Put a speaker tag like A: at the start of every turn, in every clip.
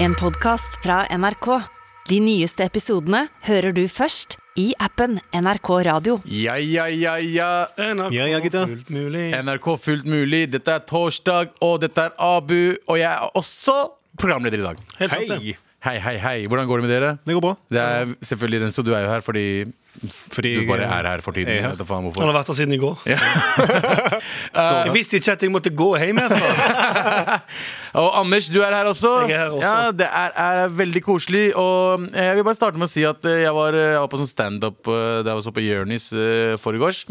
A: En podcast fra NRK. De nyeste episodene hører du først i appen NRK Radio.
B: Ja, ja, ja, ja.
C: NRK
D: Ja, ja, gutta.
C: fullt mulig.
B: NRK Fullt mulig. Dette er torsdag, og dette er Abu. Og jeg er også programleder i dag.
C: Helt sant, det.
D: Hei!
B: Hei, hei, hei. Hvordan går det med dere?
D: Det går bra.
B: Det er selvfølgelig Renzo, du er jo her fordi,
D: Fordi
B: du bare er her for tiden.
D: jeg er her.
B: Jeg vet da faen
C: Han
B: hvorfor.
C: har vært her siden i går. jeg visste ikke at jeg måtte gå hjem herfra.
B: Og Anders, du er her også.
C: Jeg er her også.
B: Ja, det er, er veldig koselig. Og eh, jeg vil bare starte med å si at eh, jeg var, eh, jeg var på sånn standup eh, da jeg var på Jonis eh, forgårs.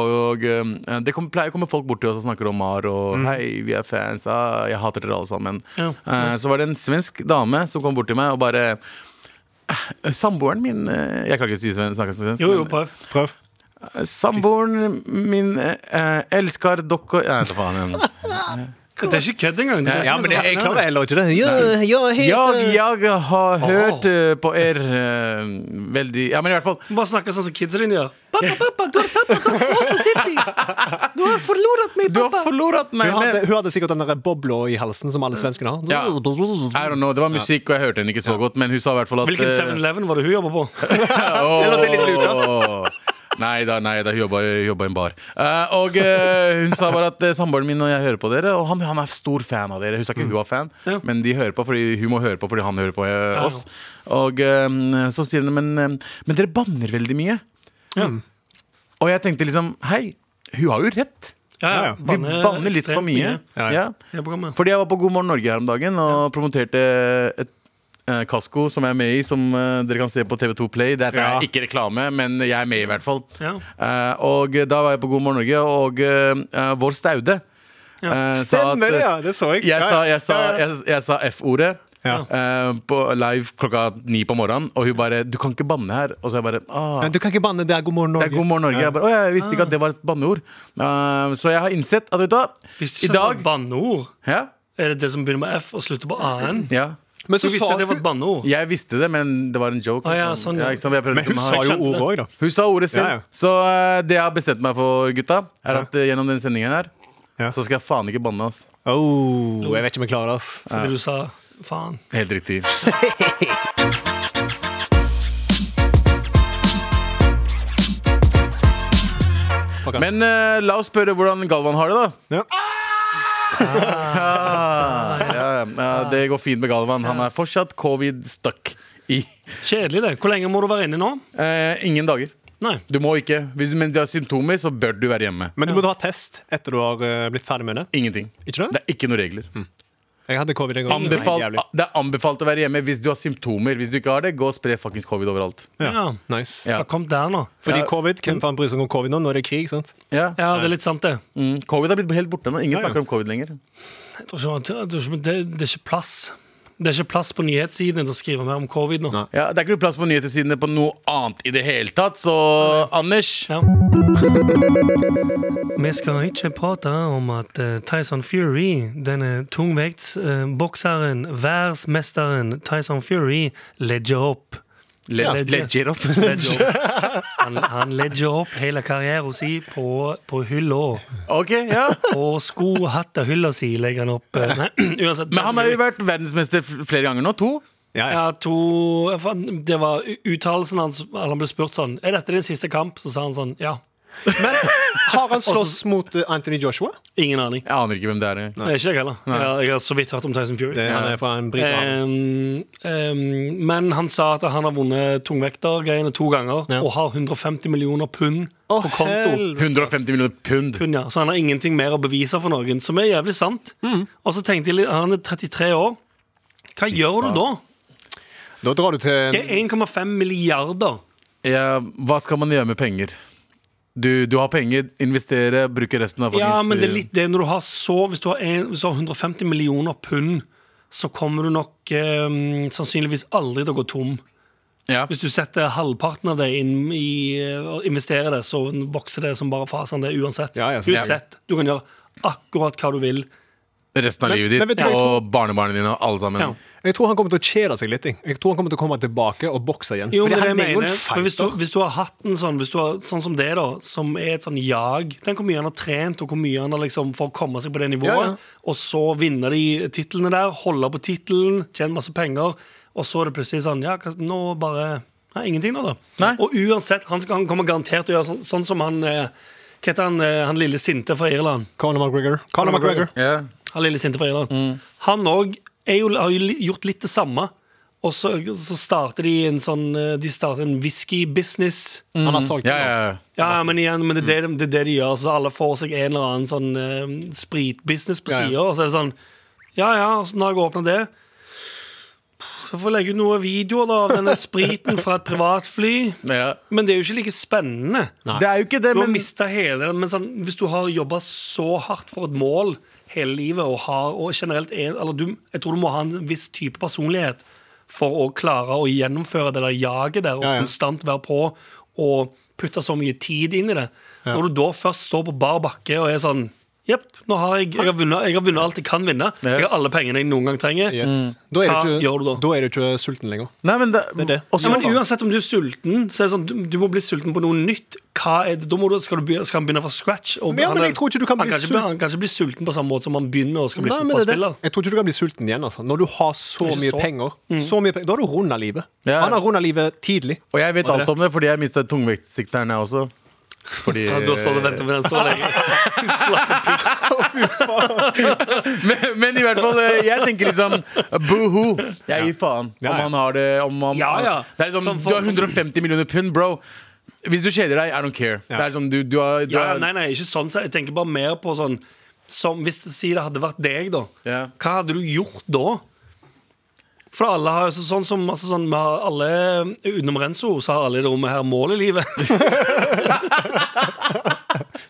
B: Og eh, det kom, pleier å komme folk bort til oss og snakker om Mar og 'hei, vi er fans', ah, 'jeg hater dere alle sammen'.
C: Mm. Ja.
B: Eh, Så var det en svensk dame som kom bort til meg og bare eh, Samboeren min eh, Jeg klarer ikke å si sven- snakke svensk.
C: Jo, jo,
B: men- eh,
C: prøv.
D: Prøv.
B: Samboeren min eh, eh, elsker dere Nei, ta faen. igjen.
C: Det er ikke kødd engang. Det er
D: Ja,
C: som
D: men
C: er
D: jeg,
C: så
D: jeg
C: fascinerende.
D: klarer heller ikke det. Ja, ja, eh,
B: Jeg, jeg har hørt
C: Åh.
B: eh, på er eh, veldig Ja, men i hvert fall
C: Bare snakke sånn som kidsa dine gjør. Pappa, pappa, du har tapt mot Oslo City! Du har forlorat meg,
B: Du har
C: pappa!
B: forlorat meg!
D: Hun hadde,
B: Men,
D: hun hadde sikkert den der bobla i halsen som alle svenskene har.
B: Ja. I don't know, Det var musikk, og jeg hørte henne ikke så godt, men hun sa i hvert fall at
C: Hvilken
B: eh,
C: 7-Eleven var det hun jobber på?
B: Åh.
D: Det låter litt
B: Nei da, nei da, hun jobba jobba i en bar. Eh, og eh, hun sa bare at eh, samboeren min og jeg hører på dere, og han, han er stor fan av dere. Hun sa ikke hun var fan,
C: Mm. Ja.
B: men de hører på fordi hun må høre på fordi han hører på eh,
C: Ja.
B: oss. Og eh, så sier hun men, eh, men dere banner veldig mye.
C: Ja,
B: Og jeg tenkte liksom hei, hun har jo rett.
C: ja,
D: Ja,
C: ja.
D: ja.
B: Vi banner litt
C: ekstremt
B: for mye.
D: Ja, ja.
B: Ja.
C: i det programmet.
B: Fordi jeg var på God morgen Norge her om dagen og promoterte et eh, Kasko, som jeg er med i, som eh, dere kan se på TV2 Play. Dette
D: Ja.
B: er ikke reklame, men jeg er med i hvert fall.
C: Ja.
B: Eh, og da var jeg på God morgen Norge, og eh, vår Staude eh, sa
D: Stemmer
B: at-
D: det, ja! Det så jeg.
B: Jeg
D: Ja,
B: sa,
D: ja.
B: jeg sa,
D: Ja, ja.
B: jeg, jeg sa F-ordet.
D: Ja.
B: eh, på live klokka ni på morgenen, og hun bare 'Du kan ikke banne her.' Og så jeg bare ah.
D: Men Du kan ikke banne. Det er God morgen,
B: Det er
D: Norge.
B: God morgen Norge. Jeg, bare, «Å, jeg visste ikke at det var et banneord. Eh, så jeg har innsett at vet du hva, i
C: Visste ikke at det var
B: dag
C: banneord.
B: ja,
C: Er det det som begynner med F og slutter på AN?
B: ja.
D: Men
C: Du
D: så
C: visste
D: sa
C: at det var
D: hun-
C: et banneord?
B: Jeg visste det, men det var en joke.
C: Å, ja,
B: liksom.
C: sånn, ja.
B: ikke sant, jeg prøvde
D: Men hun
B: å-
D: sa jo
C: skjønte det.
D: ordet òg, da.
B: hun sa ordet selv.
D: Ja, ja.
B: Så eh, det jeg har bestemt meg for, gutta, er at eh, gjennom den sendingen her
D: Ja.
B: så skal jeg faen ikke banne. ass
D: Oh, jeg vet ikke om jeg klarer det. ass.
C: Fordi du sa faen.
B: Helt riktig.
D: Fuck han.
B: Men eh, la oss spørre hvordan Galvan har det, da. Ah.
D: Ja.
B: Ja, ja, det går fint med Galvan. Han er fortsatt covid-stuck i
C: Kjedelig, det. Hvor lenge må du være inne nå?
B: eh, ingen dager.
C: Nei.
B: Du må ikke. Hvis du, men du har symptomer, så bør du være hjemme.
D: Men du må ta test etter du har eh, blitt ferdig med det.
B: Ingenting.
D: Ikke
B: Det
D: det?
B: er ikke noen regler.
D: Jeg hadde covid en gang.
B: Anbefalt,
D: Jævlig.
B: det er anbefalt å være hjemme hvis du har symptomer. Hvis du ikke har det, gå og spre fuckings covid overalt.
D: Ja.
C: Ja.
D: Nice.
B: Ja.
C: Hva kom der nå?
D: Fordi
B: Ja.
D: covid, Hvem faen bryr seg om covid nå? Nå er det krig, sant?
B: Ja.
C: Ja, det er litt sant, det.
B: Mm. Covid har blitt helt borte nå. Ingen
D: Ja, ja.
B: snakker om covid lenger.
C: Jeg tror ikke, jeg tror ikke, det, det er ikke plass. Det er ikke plass på nyhetssidene til å skrive mer om covid nå.
D: Nei.
B: Ja, det er ikke noe plass på nyhetssidene på noe annet i det hele tatt, så Anders
C: Ja. Vi skal ikke prate om at eh, Tyson Fury, denne tungvektsbokseren, verdensmesteren Tyson Fury, ledger opp.
B: le
C: Ja.
B: legger opp.
C: Ledger opp. Han, han ledger opp hele karrieren sin på, på hylla.
B: Ok, ja.
C: Og sko, hatt og hylla si legger han opp. eh, Nei, uansett.
B: Men han har jo vært verdensmester f- flere ganger nå. To.
D: Ja, ja.
C: Ja, to faen, Det var u- uttalelsen hans Han ble spurt sånn Er dette din siste kamp? Så sa han sånn Ja.
D: Men har han slåss mot eh, Anthony Joshua?
C: Ingen aning.
B: Jeg aner ikke hvem det er. jeg.
C: Nei. Ikke jeg heller. Jeg, har- jeg har så vidt hørt om Tyson Fury.
D: Det, Han er fra en brite. han.
C: Ehm, ehm, men han sa at han har vunnet tungvektergreiene to ganger
D: Ja.
C: og har 150 millioner pund
D: Å,
C: på konto.
D: hell-
B: 150 millioner pund.
C: Pund, ja. Så han har ingenting mer å bevise for noen, som er jævlig sant.
D: Mm.
C: Og så tenkte jeg litt Han er 33 år. Hva gjør
B: faen.
C: du da?
D: Da drar du til
C: Det er 1,5 milliarder.
B: Ja, hva skal man gjøre med penger? Du, du har penger, investere, bruke resten av
C: Ja,
B: fuckings-
C: men det er litt det når du har så Hvis du har, en, hvis du har 150 millioner pund, så kommer du nok eh, sannsynligvis aldri til å gå tom.
B: eh, ja.
C: Hvis du setter halvparten av det inn i eh, og investerer det, så vokser det som bare fasen. Det er uansett.
D: Ja, ja, så-
C: uansett. Du kan gjøre akkurat hva du vil
B: resten av
D: Men-
B: livet ditt
D: men vet du hva jeg
B: og barnebarna dine og alle sammen.
C: Ja.
D: Jeg tror han kommer til å kjede seg litt. jeg. Jeg tror han kommer til å komme tilbake og bokse igjen.
C: Jo,
D: Fordi
C: men det
D: han
C: mener jeg
D: er jo en
C: Men hvis, du,
D: fighter.
C: hvis du har hatt en sånn Hvis du har sånn som det, da, som er et sånn jag Tenk hvor mye han har trent, og hvor mye han har liksom for å komme seg på det nivået.
D: Ja, ja.
C: Og så vinne de titlene der, holde på tittelen, tjene masse penger, og så er det plutselig sånn Ja, hva- nå bare Nei, ingenting nå, da.
B: Nei.
C: Og uansett, han, skal, han kommer garantert til å gjøre sånn, sånn som han eh, Hva heter han, eh, han lille sinte fra Irland?
D: Conor McGregor. Conor McGregor.
B: Ja.
C: Han lille sinte fra Irland. Han òg har jo li- gjort litt det samme. Og så, så starter de en sånn eh, De starter en whisky-business.
D: Han har solgt
B: Ja, ja,
D: den.
B: ja.
C: Ja, ja, men igjen, men det, er det, de- det er det de gjør. Så alle får seg en eller annen sånn eh, spritbusiness på
D: Ja, ja.
C: sida, og så er det sånn Ja ja, og så når jeg åpner det Så får jeg legge ut noen videoer da, av denne spriten fra et privatfly.
B: Ja.
C: Men det er jo ikke like spennende.
B: Det er jo ikke det,
C: Du har
B: men
C: mista hele den. Men sånn, hvis du har jobba så hardt for et mål hele livet, og, har, og generelt er eller du, Jeg tror du må ha en viss type personlighet for å klare å gjennomføre det der jaget der, og
D: Ja, ja.
C: konstant være på og putte så mye tid inn i det. Når du da først står på bar bakke og er sånn Jepp, nå har jeg, jeg, har vunnet, jeg har vunnet alt jeg kan vinne. Jeg har alle pengene jeg noen gang trenger.
B: Mm.
D: Yes. Da, er
C: Hva
D: du
C: gjør du da?
D: ikke, da er du ikke sulten lenger.
B: Nei, men det,
D: er det.
B: Også,
C: Ja, men uansett om du er sulten, så er det sånn, du, du må bli sulten på noe nytt. Hva er det? Da må du, skal, du begynne, skal han begynne fra scratch? Og
D: Men ja,
C: han
D: men
C: er-
D: jeg tror ikke du kan
C: han
D: bli
C: kan ikke,
D: sulten.
C: bli- han kan ikke bli sulten på samme måte som han begynner og skal bli
D: Nei, men det er det.
C: fotballspiller.
D: Jeg tror ikke du kan bli sulten igjen. Altså. Når du har så
C: Ikke så.
D: mye
C: Mm.
D: penger, så mye penger da har du runda livet.
B: Ja.
D: Han har runda livet tidlig.
B: og jeg vet
D: Hva er
B: alt om det, fordi jeg mista tungvektstikteren, jeg også. Fordi,
C: Ja, du har stått og ventet på den så lenge. Slapp av.
B: men, men i hvert fall, eh, jeg tenker litt sånn boo-hoo. Jeg gir faen
D: Ja,
B: om
D: ja.
B: han har det om han,
C: Ja, ja.
B: Det er liksom,
C: Som
B: Du
C: for-
B: har 150 millioner pund, bro. Hvis du kjeder deg, I don't care. Det er sånn, du, du har, du
C: Ja,
B: har
C: nei, nei, ikke sånn. så Jeg tenker bare mer på sånn som, Hvis si det hadde vært deg, da.
B: Ja.
C: Hva hadde du gjort da? For alle har jo så- sånn som altså sånn, vi har alle, Utenom Renzo så har alle i det rommet her mål i livet.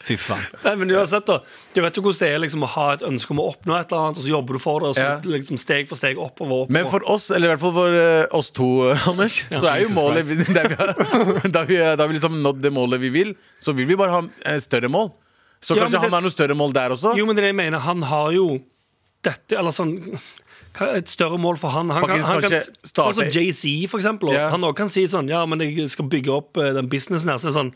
D: Fy faen.
C: Nei, men uansett da Du vet jo hvordan det er liksom, å ha et ønske om å oppnå et eller annet, og så jobber du for det, og så
B: Ja.
C: liksom, steg for steg oppover. oppover.
B: Men for oss, eller i hvert fall for eh, oss to, eh, Anders, så er jo
D: Jesus
B: målet da vi, har, da, vi, da vi liksom nådd det målet vi vil, så vil vi bare ha eh, større mål. Så kanskje
C: Ja, men det-
B: han har noe større mål der også?
C: Jo, men det er det jeg mener, han har jo dette Eller sånn hva- et større mål for han. Han kan,
B: Faktisk
C: han kan
B: kanskje
C: Sånn som
B: starte-
C: Jay-Z, for eksempel. Og
B: Ja.
C: Han også kan si sånn Ja, men jeg skal bygge opp eh, den businessen her. Så det er sånn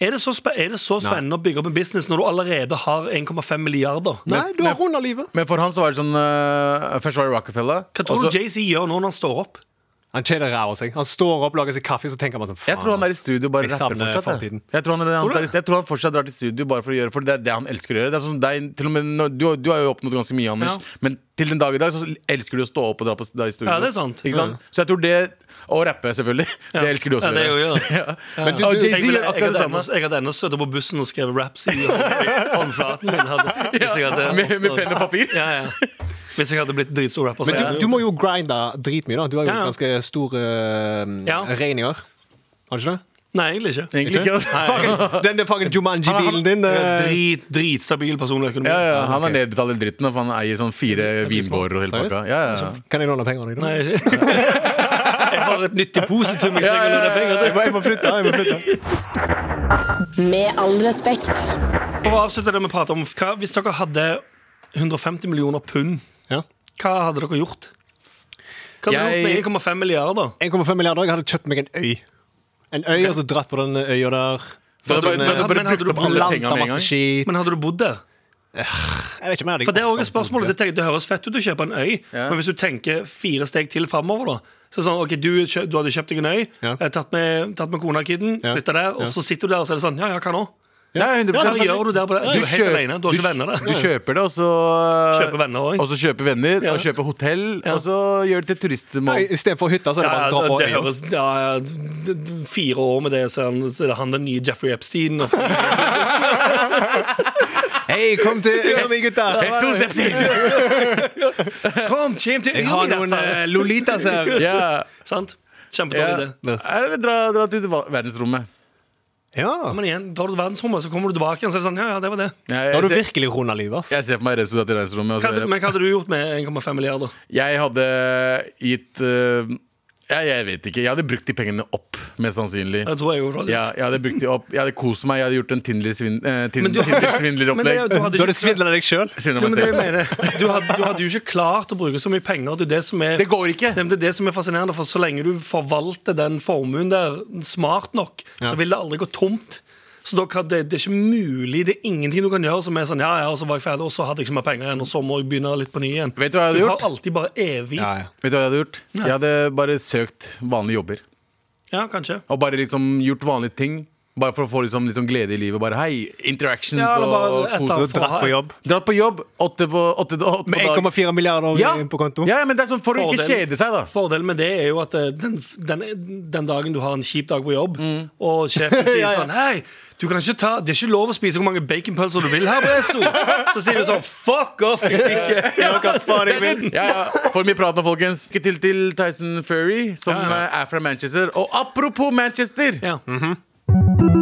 C: er det, så spe- er det så spennende å bygge opp en business når du allerede har 1,5 milliarder?
D: Nei, du har runda livet.
B: Men for han så var det sånn eh, Først var det Rockefeller.
C: Hva tror
B: og så-
C: du Jay-Z gjør nå når han står opp?
D: Han kjeder ræva av seg. Han står opp, lager seg kaffe, så tenker han bare sånn
B: Jeg tror han er i
D: ass.
B: studio og bare
D: Jeg
B: rapper
D: savner
B: fortsatt. Jeg.
D: fortiden.
B: Jeg, tror han, han,
C: du
B: er i- jeg tror han fortsatt drar til studio bare for å gjøre For det er det han elsker å gjøre. Det er sånn, det er, til og med, nå- du, har- du har jo oppnådd ganske mye, Anders,
C: Ja.
B: men til den dag i dag så elsker du å stå opp og dra på deg i studio.
C: Ja, det er sant. Mm.
B: Ikke sant? Så jeg tror det Og rappe, selvfølgelig. Det elsker du også.
C: Ja, det
B: å
C: gjør jeg.
B: ja. Men du,
C: Ja.
B: og
C: Jeg
B: Jay-Z
C: ville-
B: gjør
C: jeg
B: akkurat det
C: hadde
B: samme.
C: ennå- Jeg hadde ennå sittet på bussen og skrevet raps i hånd- håndflaten min. Hadde, hvis jeg hadde,
B: Med, med penn og papir.
C: Ja, ja. Hvis jeg hadde blitt dritstor rapper, så
D: Men
C: hadde jeg
D: du, du
C: jo-
D: må jo grinde dritmye, da. Du har jo
C: Ja, ja.
D: ganske store eh,
C: Ja.
D: regninger. Har du ikke det?
C: Nei, egentlig ikke.
B: Egentlig ikke. altså.
D: Fucking- Den der fucking Jumanji-bilen din.
C: Jeg
D: eh,
C: er Drit, dritstabil personlig økonomi.
B: Ja, ja, han har nedbetalt dritten, og han eier sånn fire vingårder og hele
D: Seriøst?
B: pakka. Ja, ja, ja.
D: Kan jeg låne pengene i
C: Nei,
D: dag?
C: ikke. jeg har et nyttig positum jeg
B: Ja,
C: trenger
B: ja,
C: å låne
B: ja,
C: penger til.
D: Jeg må- jeg må flytte. jeg må flytte
E: Med all respekt.
C: For å avslutte det vi prater om, hva, hvis dere hadde 150 millioner pund,
D: Ja.
C: hva hadde dere gjort? Hva hadde dere
B: Jeg-
C: gjort med 1,5 milliarder?
D: 1,5 milliarder. Jeg hadde kjøpt meg en øy. En øy, og så dratt på den øya der.
B: Da
D: eh,
B: hadde du bare- da hadde du bare
C: Men hadde
B: brukt
C: du
B: opp alle
D: Planta
B: pengene med en
D: masse
B: gang.
D: skit.
C: Men hadde du bodd der?
D: Jeg vet ikke om jeg hadde
C: For Det er også et spørsmål, det, tenker, det høres fett ut å kjøpe en øy,
B: Ja.
C: men hvis du tenker fire steg til framover så er det sånn, ok, du, kjø- du hadde kjøpt deg en øy,
D: Ja.
C: eh, tatt, med, tatt med kona og kiden,
D: Ja.
C: flytta der, og så sitter du der og så er det sånn Ja, ja, hva nå?
B: Ja, 100
C: Hva gjør du der? på det? Du er helt
B: kjøp-
C: alene. Du har ikke venner
B: Du
C: der.
B: kjøper det, og så
C: Kjøper venner også.
B: Og så kjøper venner, og kjøper hotell, og så gjør det til turistmål.
D: Istedenfor hytta, så er det
C: Ja,
D: bare å dra
C: det,
D: på
C: det
D: øya.
C: høres ja, ja, d- d- Fire år med det, så er han, så er det han den nye Jeffrey Epstein. Og,
D: Hei, kom til øya mi, gutter!
B: Jesus, Epstein!
C: Kom, kjem til
D: Jeg har
C: øya
D: noen
C: mi!
D: eh, Lolitas her.
B: Ja.
C: Sant?
B: Ja.
C: Kjempedårlig idé.
B: Eller dra, dra til va- verdensrommet.
D: Ja.
C: Men igjen, drar du til verdensrommet, så kommer du tilbake igjen, så er det sånn Ja, ja, det var det.
B: Jeg,
D: Da har
B: jeg,
D: du
B: ser,
D: virkelig runda livet, ass.
B: jeg ser på meg Rezu dra til verdensrommet. og så
C: Hva hadde,
B: gjør jeg-
C: men hva hadde du gjort med 1,5 milliarder?
B: Jeg hadde gitt eh, Jeg, jeg vet ikke. Jeg hadde brukt de pengene opp, mest sannsynlig.
C: Det tror jeg jo. Rodrik.
B: Ja, jeg hadde brukt de opp Jeg hadde kost meg. Jeg hadde gjort en eh,
C: Men du- Men det er jo-
B: Tinder-svindleropplegg.
C: du hadde
D: Du hadde
C: ikke
D: svindla deg sjøl.
C: Jo, men det jeg mener, du hadde, du hadde jo ikke klart å bruke så mye penger. Det, er det, som er,
B: Det går ikke.
C: Nei, men det er det som er fascinerende, for så lenge du forvalter den formuen der smart nok, så vil det aldri gå tomt. Så da kan det, det er ikke mulig, det er ingenting du kan gjøre som er sånn ja, ja, og så var jeg ferdig, og så hadde jeg ikke mer penger igjen, og så må jeg begynne litt på ny igjen.
B: Vet du hva jeg hadde
C: du
B: gjort?
C: har alltid bare evig
D: Ja,
C: Ja,
D: ja.
B: Vet du hva jeg hadde gjort? Jeg hadde bare søkt vanlige jobber.
C: kanskje.
B: Og bare liksom gjort vanlige ting. Bare for å få liksom, litt sånn glede i livet. Bare hei, interactions
C: Ja, eller bare
B: og
C: et
B: kos.
C: eller
D: Du
C: annet.
B: og-
D: har dratt på jobb
B: Dratt på jobb, åtte på, åtte, åtte
D: med
B: på dag.
D: 1,4 milliarder
B: Ja.
D: på konto.
B: ja, ja, men det er sånn for å ikke
C: Fordel.
B: kjede seg, da.
C: Fordelen med det er jo at eh, den, den, den dagen du har en kjip dag på jobb, og sjefen sier
D: Ja, ja.
C: sånn Hei, du kan ikke ta, det er ikke lov å spise hvor mange baconpølser du vil her, Bresso. Så sier du sånn Fuck off! Jeg stikker.
D: Ja, hva faen jeg vil.
B: Ja, ja. For mye prat nå, folkens. Lykke til til Tyson Furry, som
C: Ja, ja.
B: eh, er fra Manchester. Og apropos Manchester!
C: Ja.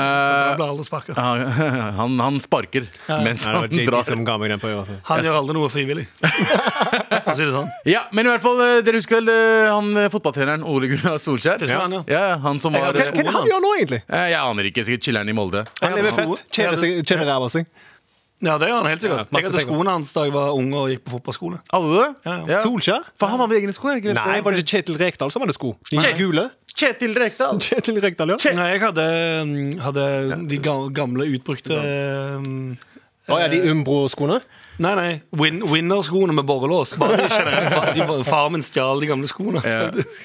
B: Eh,
C: blir aldri sparket.
B: han, han sparker mens
D: Ja, det var
B: han
D: JT
B: drar.
D: som ga meg den på øret. altså.
C: Han gjør aldri noe frivillig. For å si det sånn.
B: Ja, men i hvert fall, eh, dere husker vel eh, han eh, fotballtreneren Ole Gunnar Solskjær?
C: Husker han, ja.
B: Ja, han som
C: Jeg har
B: var eh,
C: ikke
D: Hva er det han gjør nå, egentlig?
B: eh, Jeg aner ikke. Sikkert chiller'n i Molde.
D: Han lever fett. Kjeder seg- Kjeder ræva seg.
C: Ja, det gjør han helt
D: Ja,
C: sikkert.
D: masse
C: Jeg hadde
D: penger.
C: skoene hans da jeg var ung og gikk på fotballskole.
B: Hadde du det?
C: Ja, ja.
D: Solskjær?
B: For han hadde egne sko. jeg glemte
D: Nei, var det ikke Kjetil Rekdal som hadde sko? De
B: Kjet-
D: gule?
B: Kjetil Rekdal.
D: Kjetil Rekdal, ja.
B: Kje-
C: Nei, jeg hadde, mm, hadde de ga- gamle, utbrukte eh,
D: Å ja, de Umbro-skoene?
C: Nei, nei. Win Winnerskoene med borrelås. Bare de generelt. Bare de, bare- far min stjal de gamle skoene.
B: Ja.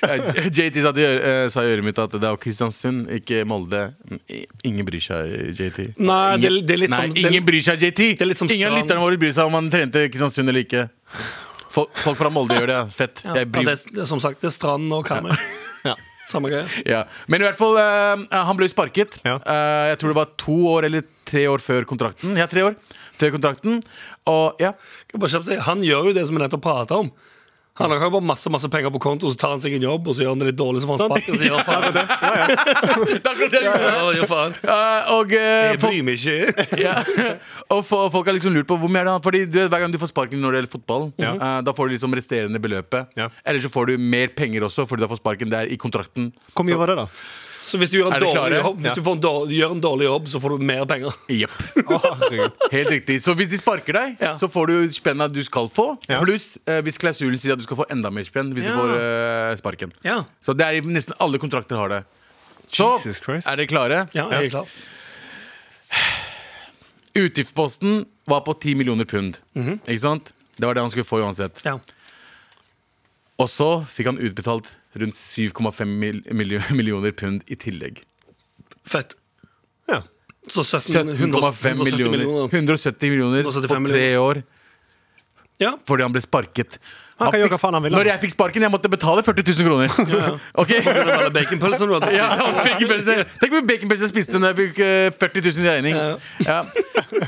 B: Eh, JT sa, til, ø- eh, sa i øret mitt at det er jo Kristiansund, ikke Molde. I- Ingen bryr seg, JT.
C: Nei,
B: ingen,
C: det- det er litt
B: nei,
C: sånn- det-
B: ingen bryr seg, JT!
C: er litt som
B: ingen av
C: Strand.
B: lytterne våre bryr seg om han trente Kristiansund eller ikke. Folk, folk fra Molde gjør det. Fett.
C: Ja,
B: Jeg
C: det,
B: bryr,
C: er- det er som sagt, det er Strand og Karmøy.
D: Ja.
C: Samme greie.
B: ja. Men i hvert fall, eh, han ble sparket.
D: Ja.
B: Eh, jeg tror det var to år eller tre år før kontrakten. Ja, tre år før kontrakten. Og ja,
C: Skal bare kjapt si, Han gjør jo det som vi nettopp prata om. Han har jo bare masse masse penger på konto, så tar han seg en jobb, og så gjør han det litt dårlig, så får
B: Sånn.
C: han sparken. Så gjør han faen.
B: det er akkurat det jeg gjorde.
C: Ja, gjør faen.
B: Eh, og, eh,
C: Jeg
B: folk-
C: bryr meg ikke.
B: ja. og fo- folk har liksom lurt på hvor mye er det han Fordi du vet, Hver gang du får sparken når det gjelder fotball,
D: Ja.
B: eh, da får du liksom resterende beløpet.
D: Ja.
B: Eller så får du mer penger også fordi du har fått sparken der i kontrakten.
D: Hvor mye var det, da?
C: Så hvis du gjør
B: Er
C: en
B: dere
C: dårlig
B: klare?
C: jobb, hvis du får en dårlig, gjør en dårlig jobb, så får du mer penger.
B: Jepp.
D: Å, herregud.
B: Helt riktig. Så hvis de sparker deg,
C: Ja.
B: så får du spenna du skal få,
D: Ja.
B: pluss eh, hvis klausulen sier at du skal få enda mer spenn hvis
C: Ja.
B: du får eh, sparken.
C: Ja.
B: Så det er i nesten alle kontrakter har det. Så
D: Jesus Christ.
B: er dere klare?
C: Ja, jeg er klar.
B: Utgiftsposten var på 10 millioner pund. Ikke sant? Det var det han skulle få uansett.
C: Ja.
B: Og så fikk han utbetalt rundt 7,5 mil- mill- millioner pund i tillegg.
C: Fett.
D: Ja.
C: Så 17
B: 17,5
C: 170
B: millioner.
C: millioner.
B: 170 millioner på
C: 175
B: tre år
C: Ja.
B: fordi han ble sparket.
D: Han kan gjøre
B: fikk-
D: hva faen han vil, han.
B: Når jeg fikk sparken, jeg måtte betale 40 000 kroner. Ok?
C: Det var alle baconpølsene du hadde
B: Ja, baconpølse. Tenk hvor mye baconpølse jeg spiste når jeg fikk eh, 40 000 i regning.
C: Ja.
B: Ja.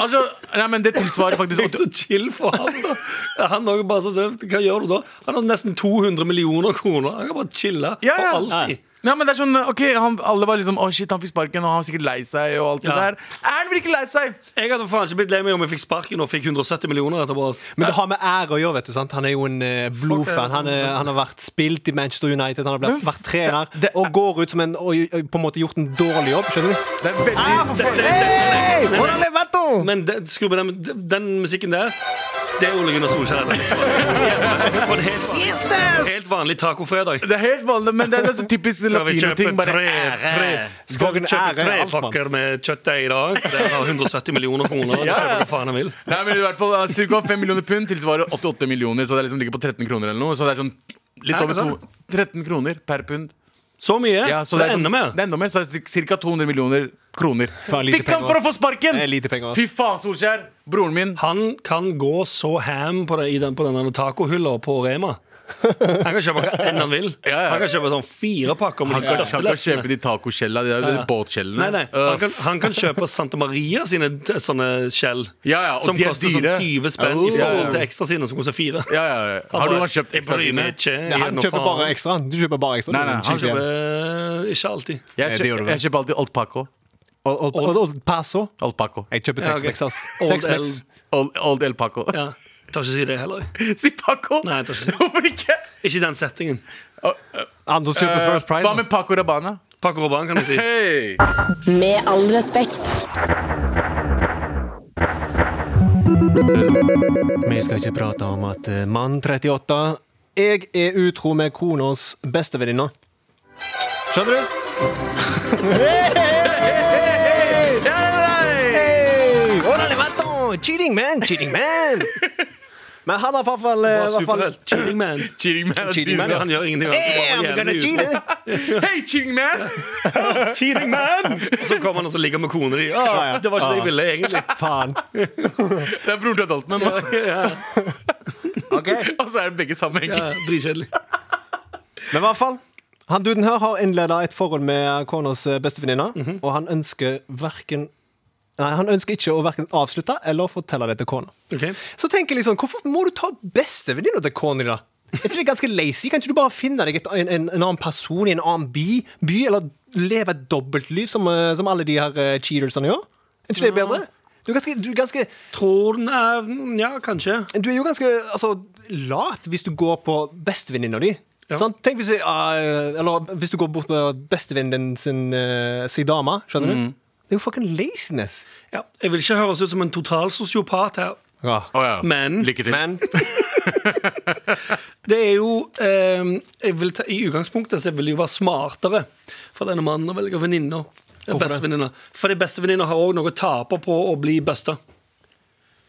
B: Altså, nei, men det tilsvarer faktisk
C: Det er
B: 80
C: så chill for han da Han også bare så døvt Hva gjør du da? Han har nesten 200 millioner kroner Han kan bare chille
B: Ja, ja.
C: for alltid
B: Ja, men det er sånn, ok, han, Alle var liksom 'Å, shit, han fikk sparken, og han var sikkert lei seg', og alt
C: Ja.
B: det der. Er han virkelig lei seg?
C: Jeg hadde faen ikke blitt lei meg om jeg fikk sparken Og fikk 170 millioner etterpå ass.
D: Men det har med ære å gjøre. vet du, sant? Han er jo en eh, blodfan. Han, er, han har vært spilt i Manchester United, han har blitt, vært trener og går ut som en og og på en måte gjort en dårlig jobb. Skjønner du?
B: Det er veldig
D: Ah, Hey! Hvordan er vettet?
C: Men den, skru på den, den musikken der Det er Ole Gunnar Solskjær det er litt sånn. På en helt vanlig, helt vanlig tacofredag
B: Det er helt vanlig, men det er så typisk
C: Skal vi kjøpe
B: latinoting. bare eh,
C: tre,
B: ære.
C: tre Skal vi
D: Dagen ære
C: kjøpe
D: er
C: tre
D: alt, mann.
C: pakker med kjøttdeig i dag Der har 170 millioner
B: Ja,
C: kroner Da kjøper
B: ja.
C: du hva faen han vil
B: Nei, men i hvert fall altså, Cirka 5 millioner pund tilsvarer 88 millioner, så det er liksom ligger på 13 kroner eller noe. Så det er sånn litt
C: Hæ,
B: over
C: hva sa
B: to 13 kroner per pund.
C: Så mye,
B: Ja,
C: så det er
B: sånn-
C: enda mer
B: Det er enda mer, så det er ca. 200 millioner kroner.
D: Faen, lite
B: Fikk han
D: penger,
B: for å få
D: ass.
B: sparken!
D: Det er lite penger, ass.
B: Fy faen, Solskjær! Broren min.
C: Han kan gå så ham på, det, i den, på den der tacohylla på Rema. Han kan kjøpe hva enn han vil.
B: Ja, ja.
C: Han kan kjøpe sånn fire pakker med
B: Han
C: de
B: skal
C: største
B: han kan
C: lefsene.
B: kjøpe de tacokjellene, de, der- de Øh, båtkjellene.
C: Nei, nei. Han, kan, han kan kjøpe Santa Maria sine t- sånne skjell.
B: Ja, ja, og
C: som
B: de er
C: koster
B: dyre.
C: sånn 20 spenn i
B: Ja, ja.
C: forhold til ekstra sine, som koster fire.
B: ja, ja, ja. Har du
C: bare,
B: han kjøpt
C: «Jeg
B: ekstra
C: bryr
B: sine?
C: meg ikke, jeg
D: Nei, Han
C: gir noe
D: kjøper bare
C: faen».
D: ekstra. Du kjøper bare ekstra.
B: Nei, nei,
D: Du
B: han
D: kjøper-
C: Eh, Ikke alltid.
B: Jeg
D: det gjør
B: kjøper,
D: du vel.
B: jeg kjøper alltid Old Paco.
D: Og, og, og, og Paso.
B: Old Paco.
D: Jeg kjøper
C: Ja, ok.
D: Tex-Mex, ass.
C: Old
D: Tex-Mex.
B: Old, old El Paco.
C: Ja. Jeg Tør ikke si det heller.
B: Si Paco!
C: Nei, jeg tør ikke si det.
B: Hvorfor ikke? Eh,
C: Ikke i den settingen.
D: Anders kjøper First Pride.
B: Hva med Paco Rabana?
C: Paco Rabanne, kan jeg si.
B: Hey!
E: Med all respekt.
D: Vi skal ikke prate om at eh, mann 38 Jeg er utro med konas bestevenninne. Skjønner du? Hey! Ora levanto! Cheating man! Cheating man! Men han har i hvert fall
C: Bra
D: eh, i hvert fall-
C: superhelt. Cheating man.
B: Cheating man.
D: Cheating man, ja.
C: Han gjør ingenting. Han
D: Hey, I'm
C: går bare
D: gonna
C: jævlig
D: cheat
C: ut.
D: it!
B: Hey, cheating man!
C: Cheating man! Og så kommer han og så ligger han med kona di.
D: ja.
C: Ah, det var ikke det jeg
D: Ah.
C: ville, egentlig.
D: Faen.
B: Det er broren til Adultman, og
D: Ok.
B: så er det begge sammen. egentlig.
C: Ja, Dritkjedelig.
D: Men i hvert fall Han duden her har innleda et forhold med konas eh, bestevenninne, og han ønsker hverken Nei, han ønsker ikke å hverken avslutte eller fortelle det til kona.
C: Ok.
D: Så tenker jeg liksom, hvorfor må du ta bestevenninna til kona di, da? Jeg tror det er ganske lazy. Kan ikke du bare finne deg et, en, en, en annen person i en annen by, by eller leve et dobbeltliv, som, eh, som alle de her eh, cheatersene gjør? Jeg tror det er bedre. Du er, ganske, du, er ganske,
C: Tror den er Ja, kanskje.
D: du er jo ganske altså, lat hvis du går på bestevenninna di.
C: Ja.
D: Sant? Tenk hvis, jeg, eh, eller hvis du går bort med bestevennen din sin, eh, sin dame, skjønner
C: Mm.
D: du? Det er jo fucking laziness.
C: Ja. Jeg vil ikke høres ut som en total sosiopat her,
D: Ja.
B: Å, ja.
C: men
B: Lykke til.
D: Men
C: det er jo eh, jeg vil ta, I utgangspunktet så vil det jo være smartere for denne mannen å velge venninner. Bestevenninner. Fordi bestevenninner har òg noe å tape på å bli busta.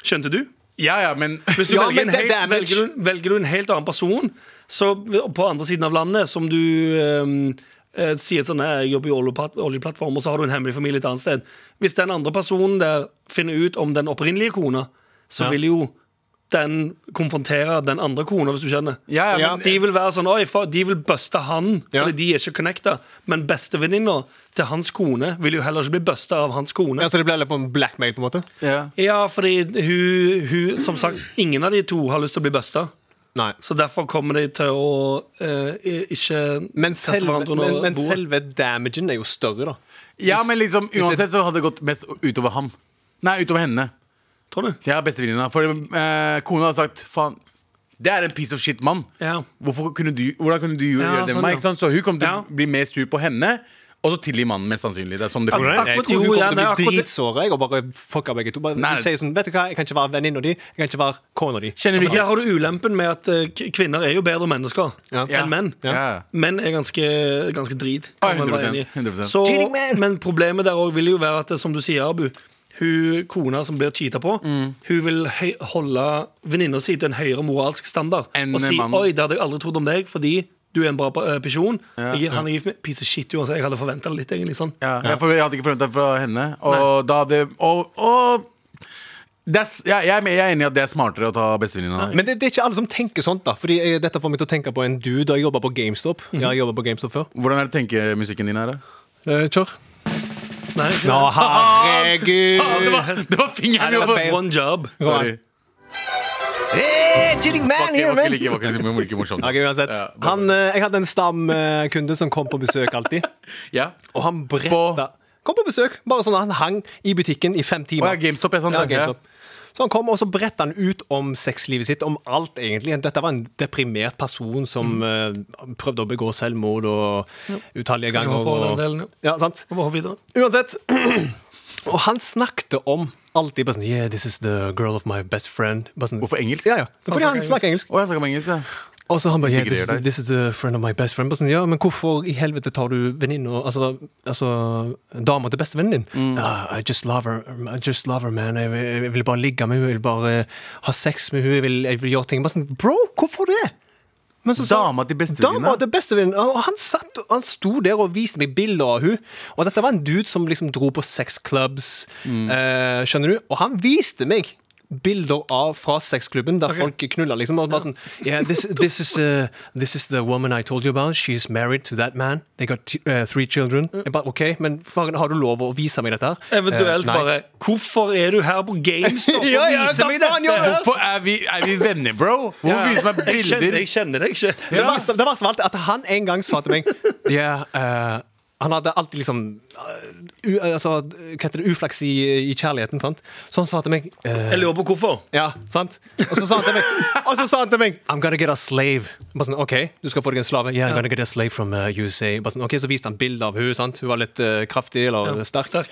C: Skjønte du?
B: Ja, ja, men
C: Hvis du
D: Ja,
C: velger,
D: men
C: en
D: det er
C: helt,
D: damage.
C: velger, du, velger du en helt annen person så, på andre siden av landet, som du ehm, eh, sier sånn «Nei, Jeg jobber i oljeplatt- oljeplattform, og så har du en hemmelig familie et annet sted. Hvis den andre personen der finner ut om den opprinnelige kona, så vil jo den konfrontere den andre kona, hvis du skjønner.
B: Ja, ja,
D: Ja.
B: men
C: De vil være sånn, oi, fa- de vil buste han,
D: Ja.
C: fordi de er ikke connecta. Men bestevenninna til hans kone vil jo heller ikke bli busta av hans kone.
D: ja, Så det blir litt på en blackmail, på en måte?
B: ja.
C: Ja, fordi hun, hun Som sagt, ingen av de to har lyst til å bli busta.
D: Nei.
C: Så derfor kommer de til å eh, i- ikke
D: Men
C: kaste
D: selve,
C: hverandre
D: men,
C: under
D: men
C: bordet.
D: selve damagen er jo større, da.
B: ja, men liksom uansett så hadde det gått mest utover ham. Nei, utover henne.
C: Tror du?
B: Ja, bestevenninna. For eh, kona hadde sagt faen, det er en piece of shit, mann.
C: Ja.
B: Hvorfor kunne du, hvordan kunne du
C: Ja,
B: gjøre det
C: sånn,
B: med meg?
C: ja.
B: Ikke sant? Så hun kommer til
C: Ja.
B: å bli mer sur på henne, og så tilgi mannen, mest sannsynlig. Det er sånn det
C: Akkurat-
B: fungerer.
D: Jeg tror hun
C: jo, ja,
D: kommer til å
C: nei,
D: bli
C: akkurat-
D: dritsåra jeg, og bare fucka begge to. Bare,
B: Nei.
D: du sier sånn, vet du hva, jeg kan ikke være venninna di, jeg kan ikke være kona di.
B: Kjenner du
C: Der
B: ikke?
C: har du ulempen med at eh, k- kvinner er jo bedre mennesker
D: Ja.
B: Ja.
C: enn menn.
B: Ja.
C: Menn er ganske, ganske drit. kan
B: Ja,
C: man
B: 100%,
C: være enig i.
B: 100%.
C: Så,
D: Cheating man!
C: men problemet der òg vil jo være at, eh, som du sier, Abu hun, Kona som blir cheata på,
D: Mm.
C: hun vil høy, holde venninna si til en høyere moralsk standard.
B: Enn
C: og si
B: mannen.
C: oi, det hadde jeg aldri trodd om deg, fordi du er en bra eh, person. jeg, han er gift med piece of shit uansett. Jeg hadde forventa det litt, egentlig. sånn
B: Ja, jeg, for, jeg hadde ikke forventa det fra henne. Og da hadde Og, og det er, s- jeg, jeg, er med- jeg er enig i at det er smartere å ta bestevenninna.
D: Men det, det er ikke alle som tenker sånt, da. Fordi eh, dette får meg til å tenke på en dude da jeg jobba på GameStop. Jeg har jobbet på GameStop før.
B: Hvordan er det tenkemusikken din her? da?
D: Eh, Kjør.
C: Nei,
D: Å,
B: Ah, det,
D: herregud!
B: var, det var fingeren
D: Nei, det var
B: over!
D: feil.
C: One job.
B: Sorry.
D: Hey, cheating man
B: Det
D: here,
B: var ikke
D: man!
B: like- det var ikke like- det var ikke morsomt.
D: Ok, uansett.
B: Ja, det var-
D: Han, eh, jeg hadde en stamkunde som kom på besøk alltid.
B: Ja.
D: Og han bretta Kom på besøk. Bare sånn at Han hang i butikken i fem
B: Å
D: timer.
B: ja, GameStop. Jeg, sånn,
D: Ja, GameStop. Så han kom, og så bretta han ut om sexlivet sitt, om alt, egentlig. Dette var en deprimert person som eh, prøvde å begå selvmord og
C: Kanskje
D: utallige ganger.
C: hoppe over den
D: Og,
C: delen, ja.
D: ja, sant?
C: Og bare hoppe videre.
D: Uansett. Og han snakket om alltid bare sånn Yeah, this is the girl of my best friend. Bare sånn,
B: Hvorfor engelsk?
D: Ja, ja. Fordi han
C: snakker
D: snakker engelsk.
B: Å, jeg snakker om engelsk, ja.
D: Og så han bare yeah,
B: Ikke
D: this,
B: greier deg.
D: is- this is the friend of my best friend. Bare Sånn, ja, men hvorfor i helvete tar du venninna Altså, altså dama til bestevennen din? «Ah, I just love her, I just love her, man. Jeg, vil- jeg vil bare ligge med henne. Jeg vil bare eh, ha sex med henne. Jeg vil, jeg vil gjøre ting. Bare sånn, Bro, hvorfor det? Men så sa-
B: Dama til bestevenninna?
D: Dama til bestevenninna. Og Han, satt, han sto der og viste meg bilder av hun Og
C: Mm.
D: dette var en dude som liksom dro på sexclubs, eh, skjønner du? Og han viste meg bilder av fra sexklubben der folk knuller, liksom. Og bare sånn yeah, this, this, is, uh, this is the woman I told you about. She's married to that man. They got t- uh, three children. Jeg bare, OK, men faen, har du lov å vise meg dette? her?
C: Eventuelt
D: Eh, nei.
C: bare Hvorfor er du her på GameStop
D: Ja, ja,
C: og viser
D: hva
C: meg
D: faen gjør
C: dette?
D: du?
B: Hvorfor er vi, er vi venner, bro? Hvorfor
C: Ja.
B: viser du meg
C: Jeg kjenner,
B: bilder?
C: jeg kjenner deg ikke.
D: Det verste, det verste var alltid at han en gang sa til meg «Ja, eh, Han hadde alltid liksom eh, u, altså, Hva heter det? Uflaks i, i kjærligheten, sant? Så han sa til meg eh,
C: Jeg lurer på hvorfor.
D: Ja, sant? Og så sa han til meg, og så sa han til meg I'm gonna get a slave. Bare sånn, OK, du skal få deg en slave. Yeah, I'm gonna get a slave from eh, USA. Bare sånn, ok, Så viste han bilde av hun, sant? Hun var litt eh, kraftig eller sterk.
C: Takk.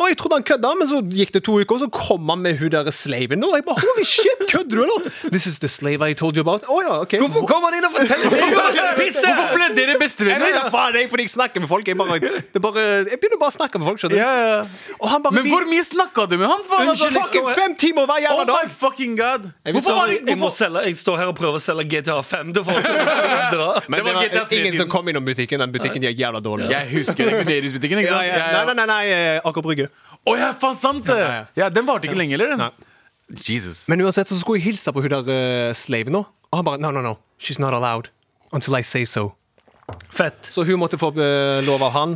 D: Og jeg trodde han kødda, men så gikk det to uker, og så kom han med hun der slaven. Og jeg bare, holy shit, kødder du, eller? This is the slave I told you about. Å ja, ok.
C: Hvorfor kom han inn og forteller meg om det pisset?
B: Hvorfor ble dere
D: Jeg vet
B: bestevenner?
D: da faen, jeg, fordi jeg snakker med folk. Jeg, bare, det er bare, jeg begynner bare å snakke med folk. skjønner du?
B: Ja, ja.
D: Og han bare
B: Men hvor mye snakka du med han for?
D: Altså, fucking fem timer hver
B: Oh
D: jævla
B: my
D: dag!
B: fucking god!
D: Jeg vil
B: Hvorfor
D: så-
B: var det,
C: Jeg, må
B: hvorfor?
C: selge, jeg står her og prøver å selge GTA 5 til folk. Dra.
B: Det
D: Men det
B: var
D: var,
B: GTA
D: ingen som
B: 3-tiden.
D: kom innom butikken. Den butikken de er jævla dårlig.
B: Jeg husker den kunderingsbutikken, ikke
D: Ja,
B: sant?
D: ja. Nei, nei, nei, nei eh, Aker Brygge.
B: Å ja, faen sant det!
D: Ja, ja.
B: Ja, Den varte ikke lenge, eller? Jesus.
D: Men uansett så skulle jeg hilse på hun der eh, slaven nå. Og han bare no, no, no. She's not allowed. Until I say so.
C: Fett.
D: Så hun måtte få eh, lov av han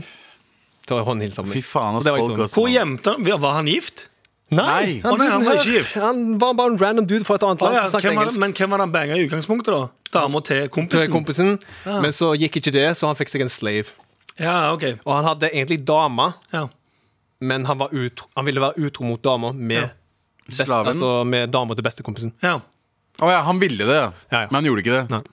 D: til å håndhilse på meg.
B: Fy faen,
D: Og
B: ass.
D: det var ikke
B: Folk,
D: sånn.
B: ass.
C: Hvor gjemte han ja, Var han gift?
B: Nei.
D: Nei,
C: Å, nei, han var ikke gift.
D: han var bare en random dude fra et
C: Å,
D: annet land
C: ja.
D: som snakket
C: hvem var,
D: engelsk.
C: men hvem var det han banga i utgangspunktet, da? Dama til
D: Til
C: kompisen?
D: kompisen, men så gikk ikke det, så han fikk seg en slave.
C: Ja, ok
D: Og han hadde egentlig dame,
C: ja.
D: men han, var utro, han ville være utro mot dama med,
C: Ja.
D: best,
B: Slaven.
D: altså med dama til bestekompisen.
C: ja.
B: Å ja, han ville det,
D: Ja, ja.
B: men han gjorde ikke det.
D: Nei.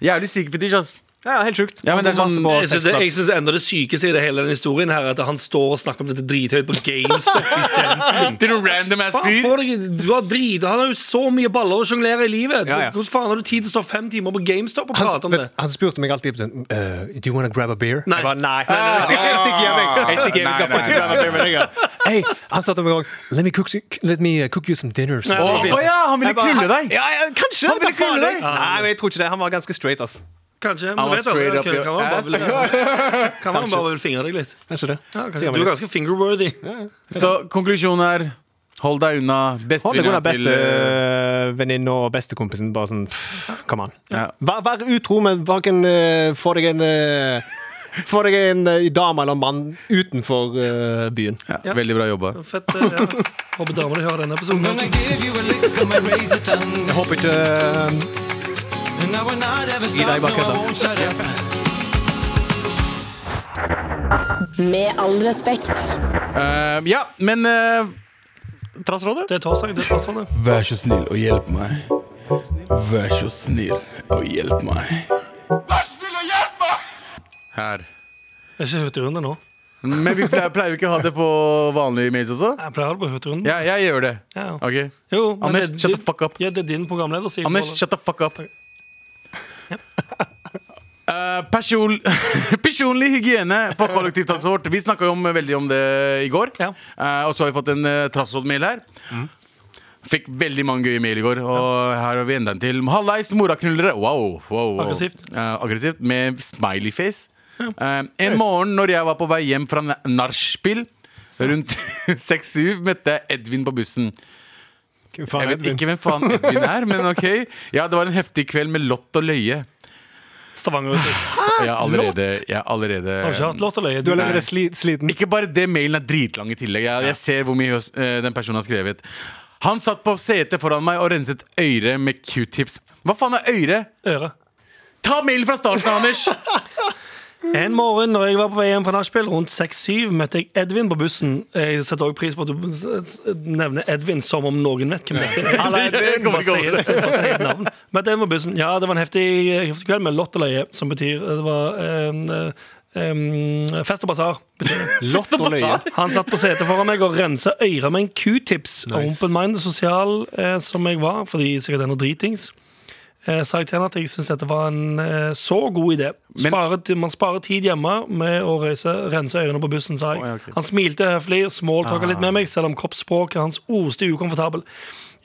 B: Jævlig syk fetisj, ass.
D: Ja, ja, helt sjukt.
B: Ja, men det er
D: Han
B: sånn-
D: var masse på
C: Jeg synes det- Jeg
D: sexclubs.
C: syns enda det sykeste i det hele den historien her er at han står og snakker om dette drithøyt på GameStop i sentrum.
B: Til noen random ass
C: Faen,
B: fyr.
C: får deg- Du har drit, han har jo så mye baller å sjonglere i livet.
D: Ja, ja.
C: Hvordan faen har du tid til å stå fem timer på GameStop og prate
D: han,
C: om det?
D: vet, han spurte meg alltid sånn uh, Do you wanna grab a beer?
C: Nei.
D: Jeg bare, nei. nei, nei, nei. Jeg stikker hjem, jeg. Jeg stikker hjem, jeg skal
B: Nei, nei,
D: faktisk grab a beer med deg. ja. Hey, han sa til meg en gang Let me cook, you- let me uh, cook you some dinner.
B: Å
C: Nei.
B: å ja, han ville
D: Jeg bare,
B: knulle deg.
D: Ja, ja, kanskje.
B: Han ville
D: ta faen
B: knulle deg.
D: Nei, men jeg tror ikke det. Han var ganske straight, ass.
C: Kanskje.
B: Han
C: Men
B: var
C: vet aldri,
B: straight up
C: kan,
B: your
C: kan man bare
B: ass.
C: vil- kan man bare vil fingre deg litt?
D: Kanskje det.
C: Ja,
D: Så gjør
C: kanskje.
D: vi
C: Du er
D: det.
C: ganske fingerworthy.
B: Så konklusjonen er hold deg unna
D: Han er god
B: bestevenninna
D: av
B: til eh,
D: bestevenninna og bestekompisen. Bare sånn pff, Come on.
B: Ja.
D: Vær, vær utro, men hverken uh, få deg en eh, Få deg en eh, dame eller mann utenfor eh, byen.
B: ja, Veldig bra jobba.
C: Fett. eh, Ja. Håper damene hører denne episoden.
F: Gonna give you a lick on my razor tongue.
D: Jeg håper ikke eh,
F: And I will not ever
D: deg
F: stop, no,
D: bak
F: I
D: kødda.
F: won't shut up.
E: Med all respekt.
B: Eh, ja, men eh, Trassrådet?
C: Det er torsdag. det er torsdag.
B: Vær så snill og hjelp meg. Vær så snill og hjelp meg. Vær snill og hjelp meg! Her.
C: Det er ikke Høturunde nå.
B: Men vi pleier, pleier vi ikke å ha det på vanlige mails også?
C: Jeg pleier å ha det på Høturunde.
B: Ja, jeg gjør det.
C: Ja.
B: Ok.
C: Jo, men
B: Anders,
C: det-
B: shut the fuck up.
C: Ja, det er din programleder, sier
B: Anders, shut the fuck up. Eh, person, personlig hygiene på kollektivtransport. Vi snakka jo om, eh, veldig om det i går.
C: Ja.
B: Eh, og så har vi fått en uh, trassrådmail her. Fikk veldig mange gøye mail i går, og her har vi enda en til. Hallais, moraknullere! Wow, wow, wow.
C: Aggressivt.
B: Eh, aggressivt. Med smileyface. Eh, en morgen når jeg var på vei hjem fra na- nachspiel rundt 6-7, møtte jeg Edvin på bussen.
D: faen,
B: Jeg vet
D: Edvin?
B: ikke hvem faen Edvin er, men ok. Ja, det var en heftig kveld med lott og løye.
C: Stavanger. Har
B: Jeg har allerede, jeg har
C: ikke
B: allerede
C: hatt låt å løye. Du-
D: Du har levd sli, sliten.
B: Ikke bare det, mailen er dritlang i tillegg. Jeg, jeg ser hvor mye eh, den personen har skrevet. Han satt på setet foran meg og renset øret med q-tips. Hva faen er øre?
C: Eh, Øre.
B: Ta mailen fra starten, Anders!
C: En morgen når jeg var på vei hjem fra nachspiel, rundt 6-7, møtte jeg Edvin på bussen. Jeg setter også pris på at du s- s- nevner Edvin som om noen vet hvem det er.
B: Jeg kommer ikke
C: Bare sier
B: over
C: det,
B: det.
C: bare sier et navn. Men det var bussen. Ja, det var en heftig, heftig kveld med lott og løye, som betyr Det var eh, eh, fest og basar. betyr det.
D: Lott og løye.
C: Han satt på setet foran meg og rensa øret med en q-tips. Og open-minded sosial eh, som jeg var, fordi sikkert er noe dritings, eh, sa jeg til henne at jeg syns dette var en eh, så god idé.
B: Men-
C: Sparet- man sparer tid hjemme med å reise, rense ørene på bussen, sa jeg.
B: Å, ja, ok. Ah.
C: Han smilte høflig og smalltalka litt med meg, selv om kroppsspråket hans oste ukomfortabel.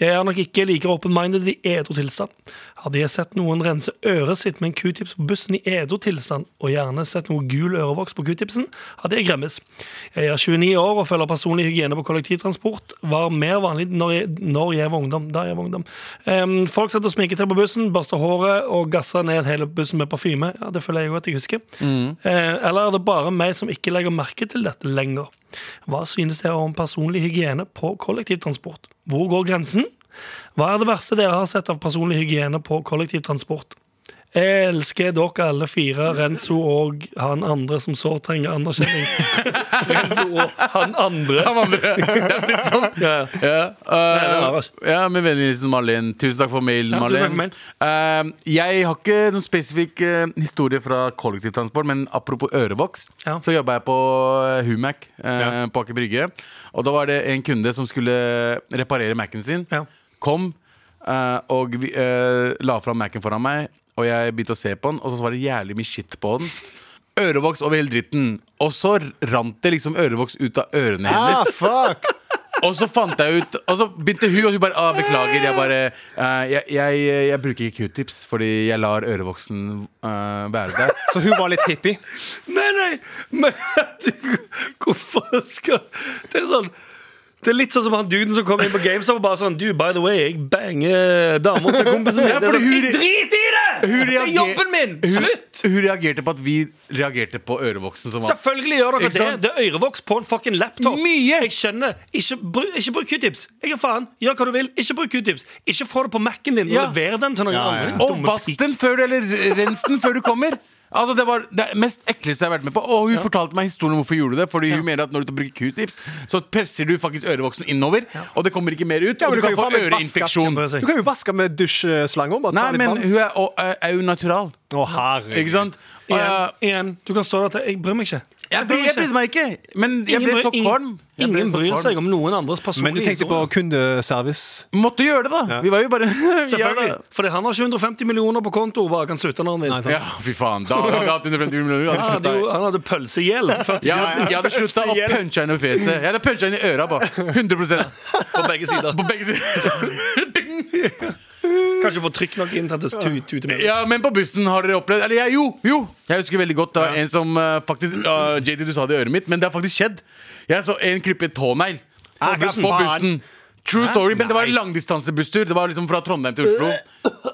C: Jeg er nok ikke like open-minded i edru tilstand. Hadde jeg sett noen rense øret sitt med en q-tips på bussen i edru tilstand, og gjerne sett noe gul ørevoks på q-tipsen, hadde jeg gremmes. Jeg er 29 år og følger personlig hygiene på kollektivtransport. Var mer vanlig når jeg, når jeg var ungdom. Da jeg var ungdom. Ehm, folk satt og sminket seg på bussen, børsta håret og gassa ned hele bussen med parfyme. Ja, det føler jeg jo at jeg husker. Eh, eller er det bare meg som ikke legger merke til dette lenger? Hva synes dere om personlig hygiene på kollektivtransport? Hvor går grensen? Hva er det verste dere har sett av personlig hygiene på kollektivtransport? Jeg elsker dere alle fire, Renzo og han andre som så trenger anerkjenning. Renzo og han andre.
B: Han andre. Det er blitt sånn. Ja,
C: det er
B: uh,
C: Lars.
B: ja med vennlig hilsen Marlen. Tusen takk for mailen,
C: Ja, tusen takk for
B: Marlen. Eh, jeg har ikke noen spesifikk eh, historie fra kollektivtransport, men apropos ørevoks,
C: Ja.
B: så jobba jeg på eh, Humac eh, på Aker Brygge. Og da var det en kunde som skulle reparere Mac-en sin.
C: Ja.
B: Kom eh, og vi, eh, la fram Mac-en foran meg, og jeg begynte å se på den, og så var det jævlig mye shit på den. Ørevoks over hele dritten. Og så rant det liksom ørevoks ut av ørene hennes.
G: fuck!
B: Og så fant jeg ut Og så begynte hun, og hun bare ah, 'Beklager, jeg bare eh, jeg, jeg, jeg bruker ikke q-tips fordi jeg lar ørevoksen eh, være der.
D: Så hun var litt hippie.
C: Nei, nei, men du, hvorfor skal Det er sånn det er litt sånn som han duden som kom inn på GameStop og bare sånn Du, by the way, jeg banger damer til kompisen min.
B: Ja,
C: Det er
B: fordi
C: sånn,
B: hun-
C: jeg driter i det!
B: Hun
C: Det er
B: reager-
C: jobben min!
B: Hun,
C: Slutt!
B: hun reagerte på at vi reagerte på ørevoksen. Som var
C: Selvfølgelig gjør dere
B: Ikke
C: det.
B: sant?
C: Det er ørevoks på en fucking laptop.
B: Mye!
C: Jeg skjønner. Ikke, bru- ikke bruk q-tips. Jeg gir faen. Gjør hva du vil. Ikke bruk q-tips. Ikke få det på Mac-en din.
B: Ja.
C: Og lever den til noen
G: Ja, ja.
C: andre.
B: Og
C: Dumme
B: vask
C: pik.
B: den før du, eller rens den før du kommer. Altså Det var det mest ekleste jeg har vært med på. Og hun fortalte meg historien om hvorfor hun gjorde det. Fordi hun mener at når du bruker q-tips, så presser du faktisk ørevoksen innover, og det kommer ikke mer ut.
D: men
B: og
D: du
B: du kan
D: kan jo
B: få
D: faen meg vaske
B: øreinfeksjon.
C: Bare si.
D: Du kan jo vaske med dusjslanger. Bare ta
B: Nei,
D: litt
B: men
D: vann.
B: hun er, og, eh, er jo natural.
D: Å, herregud.
B: Ikke sant? Og jeg-
C: Igjen, igjen. Du kan stå der til Jeg bryr meg ikke.
B: Jeg, bry, jeg brydde meg ikke, men jeg
C: Ingen
B: ble
C: bryr-
B: så
C: ingen-
B: kvalm. Jeg ble
C: Ingen
B: så
C: bryr
B: kvalm.
C: seg om noen andres personlige
D: Men du tenkte på
C: historier.
D: kundeservice.
B: Måtte gjøre det, da. Vi var jo bare ja,
C: Selvfølgelig.
B: da.
C: Fordi han har 750 millioner på konto og bare kan slutte når han vil.
B: ja, fy faen. Da hadde jeg hatt 150 millioner.
C: Han
B: Jeg
C: hadde, jo,
B: hadde
C: han hadde pølsegjeld. 40
B: ja, jeg hadde slutta å punche henne i fjeset. Jeg hadde puncha henne i øra. Bare. 100
C: på begge sider.
B: På begge sider. Ding!
C: Kanskje få trykk nok inn til at det tu- tuter med.
B: Ja, Men på bussen har dere opplevd Eller jeg, jo, jo! Jeg husker veldig godt det var en som eh, faktisk eh, JD, du sa det i øret mitt, men det har faktisk skjedd. Jeg så en klippe tånegl på
G: Ah, hva
B: bussen. På
G: faen?
B: bussen. True story, men det var
G: Nei.
B: en langdistansebusstur. Det var liksom fra Trondheim til
C: Øh,
B: Oslo.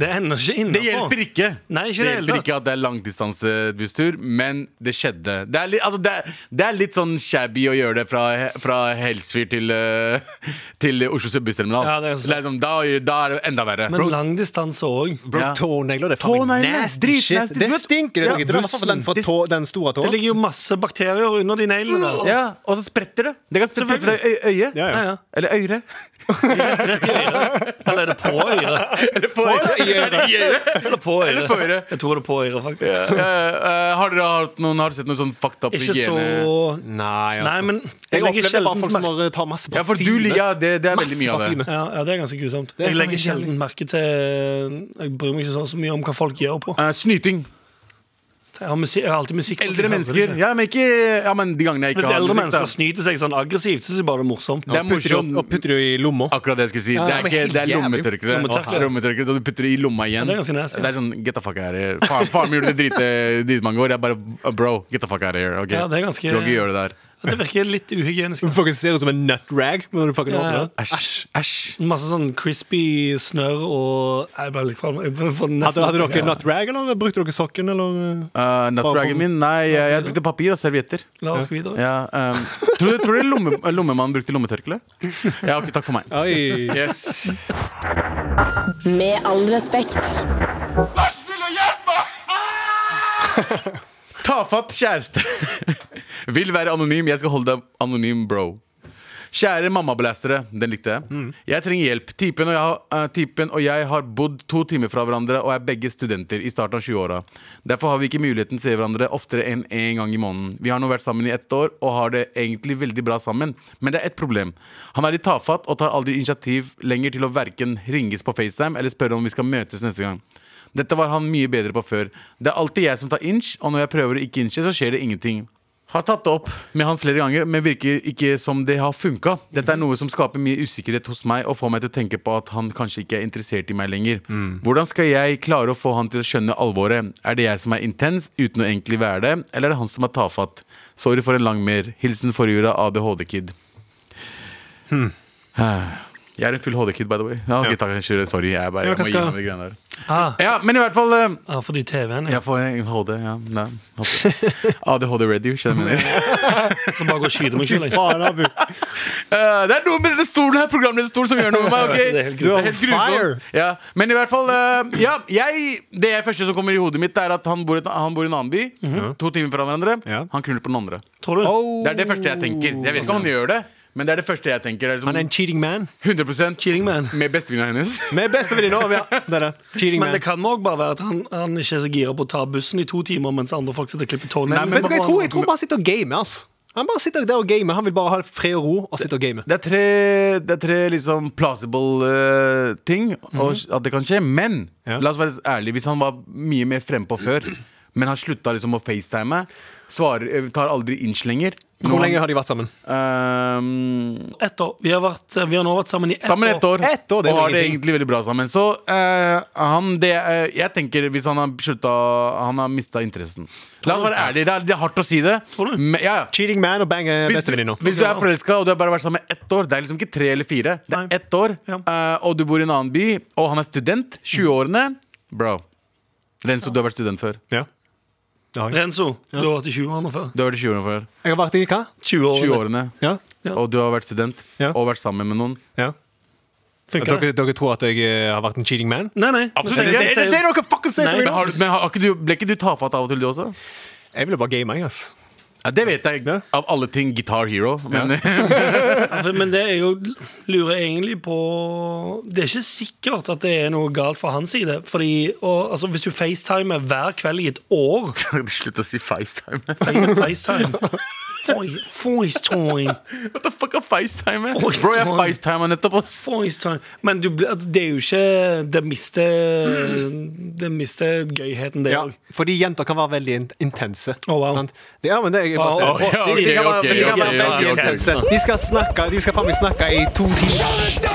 C: Det ender ikke
B: Det hjelper
C: innafor.
B: ikke.
C: Nei, ikke i
B: det
C: det hele
B: hjelper
C: tatt.
B: ikke at det er langdistansebusstur, men det skjedde. Det er litt, altså det, er- det er litt sånn shabby å gjøre det fra, fra Helsfyr til, eh, til Oslo bussterminal.
C: Ja, det er sant.
B: liksom, da, da er det enda verre.
C: Men lang distanse òg.
D: Bro,
B: Ja.
D: Tånegler, det er faen meg
B: Tånegler,
D: nasty
B: dritnasty.
D: shit. Det
B: Du vet-
D: stinker. Det
B: Ja,
D: ja, det er i hvert fall den, fra
B: bussen.
D: tå, den store
C: Det
D: tåen.
C: ligger jo masse bakterier under de neglene. der.
B: ja, og så spretter det. Det kan sprette fra øy øyet.
D: Ja,
C: Ja, ja.
B: Eller øyre.
C: Rett i øret. Eller er det på øret?
B: Eller på øyre. Eller i øyre.
C: Eller på øret.
B: Eller på øret.
C: Jeg tror det er på øyret, faktisk.
B: Eh, eh, har dere hatt noen, har dere sett noen sånn fucked up
C: Ikke så
B: hygiene?
D: Nei, altså.
C: Nei, men
D: jeg
C: jeg legger
D: opplever bare
C: sjelden
D: folk som
C: merke
D: har, tar masse
B: Ja, for du,
D: parfyme.
B: ja, det, det er veldig
D: Masse
B: mye av det.
D: parfyme.
C: ja, ja, det er ganske grusomt.
D: er
C: Jeg legger
D: faen meg
C: sjelden merke til Jeg bryr meg ikke så, så mye om hva folk gjør på.
B: Eh, snyting.
C: Jeg har, musikk, jeg har alltid musikk på, så jeg
B: Eldre
C: hører det
B: mennesker.
C: ikke.
B: Ja, men ikke Ja, men de gangene jeg ikke
C: Hvis
B: har
C: eldre
B: musikk, da.
C: mennesker snyter seg sånn aggressivt, så synes jeg bare det er morsomt.
B: Det er
D: Og putter det-
B: morsomt.
D: Og putter det i lomma.
B: Akkurat det jeg skulle si.
D: Ja,
B: det er,
D: men
B: ikke,
D: helt
B: det er
D: jævlig.
B: lommetørkle.
C: Lommetørkle.
B: Lommetørkle, Så du putter det i lomma igjen.
C: Ja, det er ganske nasty, ja.
B: Det er sånn get the fuck out of here. Faren, faren min gjorde det drite dit man går. Jeg bare oh, bro, get the fuck out of here. ok?
C: Ja, det er ganske-
B: Du kan ikke gjøre det der.
C: Det virker litt uhygienisk.
D: Du fucking ser ut som en nutrag. Når du fucking
C: Ja,
D: åpner
C: ja.
D: den
B: Æsj. æsj
C: Masse sånn crispy snørr og Jeg ble litt kvalm. Jeg ble- får nesten-
D: Hadde, hadde dere nutrag, eller brukte dere sokken, eller?
B: uh, Nutragen min? Nei, jeg, jeg brukte papir og servietter.
C: La oss gå videre.
B: Ja, um, tror du, tror du lomme, lommemannen brukte lommetørkle? Ja, ok, takk for meg.
D: Oi.
B: Yes.
E: Med all respekt.
B: Tafatt kjæreste. Vil være anonym. Jeg skal holde deg anonym, bro. Kjære mammablastere. Den likte jeg. Jeg trenger hjelp. Typen og, jeg, har- eh, typen og jeg har bodd to timer fra hverandre og er begge studenter i starten av 20-åra. Derfor har vi ikke muligheten til å se hverandre oftere enn én gang i måneden. Vi har nå vært sammen i ett år og har det egentlig veldig bra sammen, men det er ett problem. Han er litt tafatt og tar aldri initiativ lenger til å verken ringes på FaceTime eller spørre om vi skal møtes neste gang. Dette var han mye bedre på før. Det er alltid jeg som tar inch, og når jeg prøver å ikke inche, så skjer det ingenting. Har tatt det opp med han flere ganger, men virker ikke som det har funka. Dette er noe som skaper mye usikkerhet hos meg og får meg til å tenke på at han kanskje ikke er interessert i meg lenger. Hvordan skal jeg klare å få han til å skjønne alvoret? Er det jeg som er intens uten å egentlig være det, eller er det han som er tafatt? Sorry for en lang mer. Hilsen forjula ADHD-kid. Jeg er en full HD-kid, by the way. Ja, ok, takk, kjør. Sorry, jeg, er bare, jeg
D: Ja, hva
B: må gi
D: skal-
B: meg de greiene der.
C: Ah,
B: Ja, men i hvert fall eh,
C: ah, fordi TV-en er
B: Jeg får en HD, ja. Nei. ADHD-ready, skjønner du hva jeg mener.
C: Så bare gå og skyte meg selv jeg.
D: Faen, Abu.
B: Eh, det er noe med denne stolen her, programlederstolen, som gjør noe med meg. ok?
C: Det er helt grusomt.
B: Det er helt
D: Du er on fire.
B: grusomt. Ja, men i hvert fall eh, Ja, jeg, det første som kommer i hodet mitt, er at han bor, i et- han bor i en annen by.
C: Mhm.
B: To timer fra hverandre.
D: Ja.
B: Han knuller på den andre.
C: Tror du?
B: Det er det første jeg tenker. Jeg vet ikke om han gjør det, men det er det første jeg tenker. Det er
D: Han er en
B: liksom
D: cheating man.
B: 100
C: Cheating man.
B: med bestevenninna hennes.
D: Vi er bestevenninner. ja. Det er det. Cheating
C: Men
D: man.
C: det kan også bare være at han, han ikke er så gira på å ta bussen i to timer mens andre folk sitter og klipper tårene.
B: Nei, men
D: Vet du hva jeg tror? Jeg tror bare han sitter og gamer. ass. Han bare sitter der og gamer. Han vil bare ha fred og ro og sitte og game.
B: Det er tre, det er tre liksom plausible eh, ting og, at det kan skje, men
D: Mhm. Ja.
B: la oss være ærlige. Hvis han var mye mer frempå før, men han slutta liksom å facetime, svarer, eh, tar aldri innslenger
D: Hvor lenge har de vært sammen?
B: Ehm,
C: Ett år. Vi har, vært, vi har nå vært sammen i ett
B: Sammen ett år,
D: Ett år, det er
B: og
D: jo
B: har det
D: ingenting.
B: egentlig veldig bra sammen. Så eh, han, det, eh, jeg tenker hvis han har slutta Han har mista interessen. La oss være ærlige. Det er, det er hardt å si det.
C: Tror du?
B: Men, ja, ja.
D: Cheating man og bang er
B: Hvis,
D: bestevenninner.
B: hvis du er forelska og du har bare vært sammen ett år, det er liksom ikke tre eller fire. Det
C: Nei.
B: er ett år,
C: Ja.
B: eh, og du bor i en annen by, og han er student, 20-årene. Bro. Renzo, du har vært student før.
D: Ja. Det har jeg.
C: Renzo, du har vært i 20 år nå før.
B: Du har vært 20 årene før.
D: Jeg har vært i hva?
C: 20 år.
B: 20-årene,
D: Ja.
C: Ja.
B: og du har vært student,
D: Ja.
B: og vært sammen med noen.
D: ja.
C: Funker det?
D: Dere, dere tror at jeg eh, har vært en cheating man?
C: Nei, nei.
B: Absolutt
C: Men
B: ikke.
C: sier-
D: Det er det dere fucking sier
C: Nei,
D: til meg
B: Men,
D: nå!
B: har, du- men har, ikke du, ble ikke du tafatt av og til, du også?
D: Jeg ville bare game, jeg, ass.
B: Ja, det vet jeg.
D: Ja.
B: Av alle ting Guitar Hero. Men
C: Ja, for- Men det er jo lurer jeg egentlig på Det er ikke sikkert at det er noe galt fra hans side. Fordi, og, altså, Hvis du facetimer hver kveld i et år
B: Slutt å si FaceTime.
C: FaceTime Voi- FaceTime
B: What the fuck er FaceTime?
C: Voice
B: Bro, jeg
C: time.
B: FaceTima nettopp, ass.
C: FaceTime Men du, blir- altså, det er jo ikke Det mister Det mister gøyheten, det
D: Ja,
C: òg.
D: fordi jenter kan være veldig in- intense.
C: Å, wow.
D: sant? Det, ja, men det er jeg bare
C: Å,
D: ser.
B: ja,
D: De- de kan være-
B: ok,
D: de kan
B: ok,
D: være
B: ok,
D: veldig
B: ok.
D: intense. De skal snakke De skal faen meg snakke i to timer.
B: Ja.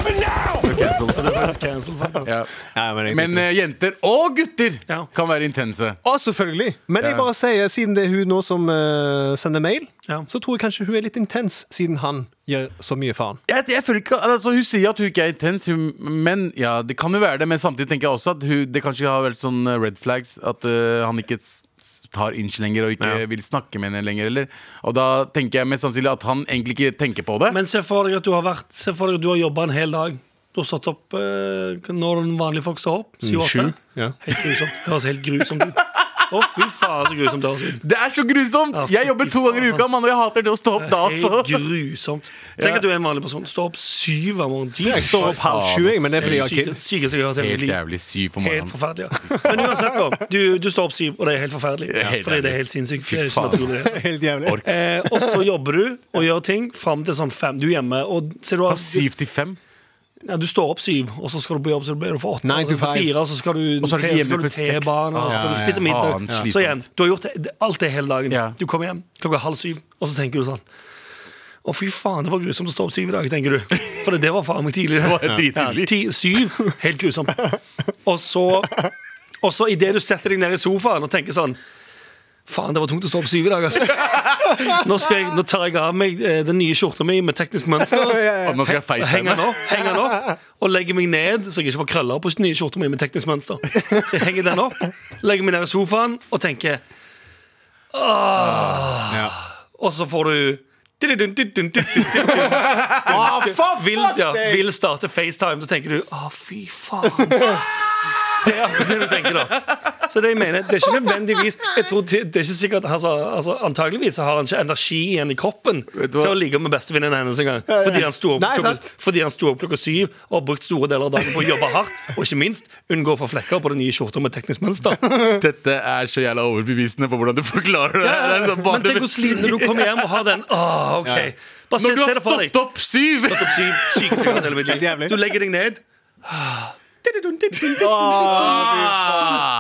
D: Ja, men jeg-
B: Men eh, jenter og gutter
C: Ja.
B: kan være intense.
D: Å, selvfølgelig! Men jeg
B: Ja.
D: bare sier, siden det er hun nå som eh, sender mail,
C: Ja.
D: så tror jeg kanskje hun er litt intens, siden han gjør så mye faen.
B: jeg, jeg føler ikke, altså Hun sier at hun ikke er intens, hun, men ja, det kan jo være det. Men samtidig tenker jeg også at hun, det kanskje har vært sånn eh, red flags. At eh, han ikke s- s- tar inch lenger og ikke vil snakke med henne lenger. Eller. Og da tenker jeg mest sannsynlig at han egentlig ikke tenker på det.
C: Men se for deg at du har vært Se for deg at du har jobba en hel dag. Du har stått opp eh, når vanlige folk står opp.
B: Mm,
C: Syv-åtte.
D: Ja.
C: Helt grusomt. Det høres helt grusomt ut. Å, fy faen, så grusomt det høres ut.
B: det er så grusomt!
C: Ja,
B: jeg jobber
C: fy
B: to ganger i
C: faen.
B: uka, mann, og jeg hater det å stå opp da.
C: Helt
B: Altså.
C: grusomt. Tenk at du er en vanlig person. Stå opp syv hver morgen.
D: Jeg
C: Jesus.
D: står opp halv sju, jeg, men det er fordi jeg har
C: Syke-
D: kid.
C: Sykeste jeg har hørt i hele
B: Helt
C: mitt liv.
B: jævlig syv på
C: Helt
B: morgenen.
C: forferdelig. ja. Men uansett, da. Du, du står opp syv, og det er helt forferdelig.
B: Helt
C: Fordi det
B: jævlig.
C: er helt sinnssykt.
B: Fy
C: Det er ikke
B: faen.
C: naturlig.
D: Helt jævlig.
B: Ork.
C: Eh, og så jobber du og gjør ting fram til sånn fem. Du er hjemme, og ser du
B: Fra
C: at
B: syv til fem.
C: ja, du står opp syv, og så skal du på jobb, så du blir du for åtte,
D: Nine
C: og så
D: to
C: for
D: five.
C: fire, og så skal du,
B: Og så er du
C: til-
B: hjemme
C: skal du
B: for seks.
C: T-bane, og så skal
B: Ah,
C: du
B: ja,
C: spise middag.
B: faen,
C: Så
B: slitsomt.
C: igjen, du har gjort det, alt det hele dagen.
B: Ja.
C: Du kommer hjem klokka halv syv, og så tenker du sånn å, fy faen, det var grusomt å stå opp syv i dag, tenker du. For det var faen meg tidlig. Det
B: var dritidlig.
C: ti, syv, helt grusomt. Og så, og så idet du setter deg ned i sofaen og tenker sånn Faen, det var tungt å stå opp syv i dag, ass. Nå, skal jeg, nå tar jeg av meg eh, den nye skjorta mi med teknisk mønster.
B: Og nå skal jeg
C: Heng
B: facetime.
C: den opp, heng den opp og legger meg ned, så jeg ikke får krøller på nye skjorter mine med teknisk mønster. Så jeg henger den opp, legger meg ned i sofaen og tenker «Åh». Og så får du
D: Ah, for
C: vil,
D: fuck's
C: ja,
D: sake!
C: vil starte FaceTime, så tenker du Å, fy faen. Det er akkurat det du tenker, da. Så det jeg mener, det er ikke nødvendigvis jeg tror det, det er ikke sikkert, altså, altså, Antageligvis så har han ikke energi igjen i kroppen
B: Vet du hva?
C: til å ligge med bestevenninnen hennes engang. Fordi han sto opp
D: Nei,
C: klokka-
D: sant.
C: fordi han sto opp klokka syv og har brukt store deler av dagen på å jobbe hardt. Og ikke minst unngå å få flekker på den nye skjorta med teknisk mønster.
B: Dette er så jævla overbevisende på hvordan du forklarer det. det er sånn bare-
C: Men tenk hvor sliten når du kommer hjem og har den. Åh, ok Bare
B: Når
C: se,
B: du
C: se
B: har
C: det for deg.
B: stått opp syv!
C: Stått opp syv, sykt sikkert hele mitt
D: Helt
C: liv.
D: jævlig.
C: Du legger deg ned. Ah. Tididun,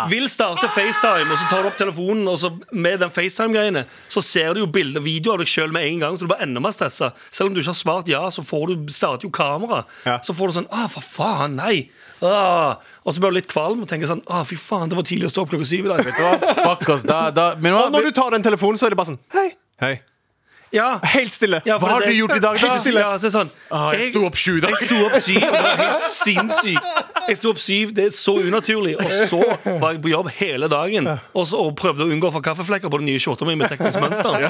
C: Vil starte FaceTime, og så tar du opp telefonen, og så med den FaceTime-greiene, så ser du jo bilder videoer av deg sjøl med en gang, så du blir enda mer stressa. Selv om du ikke har svart ja, så får du, starter jo kamera.
G: Ja.
C: Så får du sånn ah, for faen, nei. Ah. Og så blir du litt kvalm og tenker sånn ah, fy faen, det var tidlig å stå opp klokka syv i dag.
B: Fuck oss, da, da. Men hva,
D: Og når du tar den telefonen, så er det bare sånn Hei. Hei.
C: Ja.
D: Helt stille.
C: Ja, for
B: hva har
C: det-
B: du gjort i dag, da?
C: Helt stille. Ja, så er det sånn,
B: Ah, jeg sto opp sju i dag.
C: Jeg sto opp syv, det var helt sinnssykt. Jeg sto opp syv, det er så unaturlig. Og så var jeg på jobb hele dagen og, så, og prøvde å unngå å få kaffeflekker på den nye skjorta mi med teknisk mønster.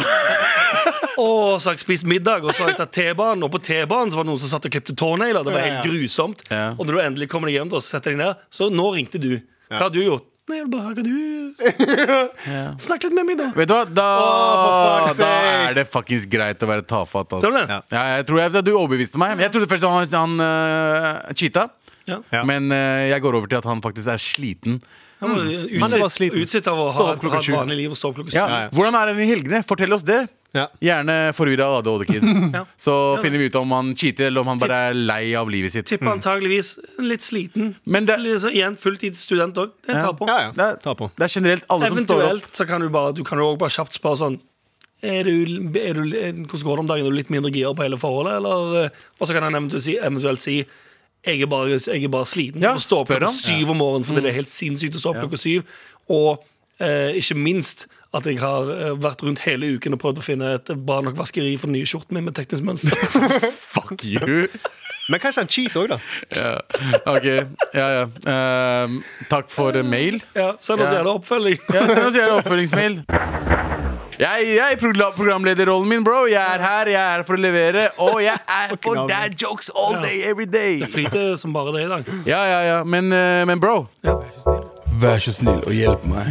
C: Og så har jeg spist middag, og så har jeg tatt T-banen, og på T-banen så var det noen som satt og klippte tånegler. Det var helt grusomt.
B: Ja.
C: Og når du endelig kommer deg hjem, da, så setter jeg deg ned. Så nå ringte du. Hva har du gjort? Nei, jeg vil bare hva du Snakk litt med meg, da.
B: Vet du hva, da,
G: Å, for fuck's
B: da
G: sake.
B: er det fuckings greit å være tafatt. ass.
C: Ser du det?
B: Ja. Ja, jeg tror jeg, du overbeviste meg. Jeg trodde først han, han øh, cheata,
C: Ja.
G: Ja.
B: men øh, jeg går over til at han faktisk er sliten.
C: Jeg var
D: Men det var
C: utsett,
D: sliten.
C: utsett av å
D: Stå
C: ha,
D: opp
C: et-
D: klokka
C: ha et
D: sju.
C: vanlig liv og stå opp klokka syv.
B: Mm. Ja. Hvordan er han i helgene? Fortell oss det.
D: Ja.
B: Gjerne forvirra ADHD-kid.
C: Ja.
B: Så finner vi ut om han cheater, eller om han bare er lei av livet sitt.
C: Tipper antageligvis litt sliten.
B: Mm. Men det-
C: Sli- så igjen fulltidsstudent òg. Det tar på.
D: Ja, ja.
B: Det er,
D: Ta på.
B: det er generelt alle som står opp.
C: Eventuelt så kan du bare Du kan jo også bare kjapt spørre sånn er du, er du, er, Hvordan går det om dagen? Er du litt mindre gira på hele forholdet? Eller, eh, og så kan han eventuelt si, eventuelt si jeg er bare, jeg er bare sliten.
B: Ja,
C: og stå opp
B: spør Mm.
C: klokka
B: han.
C: syv om morgenen fordi det er helt sinnssykt å stå opp klokka syv. Og eh, ikke minst at jeg har eh, vært rundt hele uken og prøvd å finne et bra nok vaskeri for den nye skjorten min med teknisk mønster.
B: Fuck you!
D: Men kanskje han cheater òg, da.
B: Ok, ja, ja. Ehm, takk for eh, mail.
C: ja, Send oss
B: Ja.
C: gjerne oppfølging.
B: Ja, send oss gjerne oppfølgingsmail. Jeg, jeg er progla- programlederrollen min, bro. Jeg er her, jeg er her for å levere. Og jeg er for
D: hell,
B: dad jokes all day, every day.
C: Det flyter som bare det i dag.
B: Ja, ja, ja. Men, eh, men bro.
C: Ja.
B: Vær så snill og hjelp meg.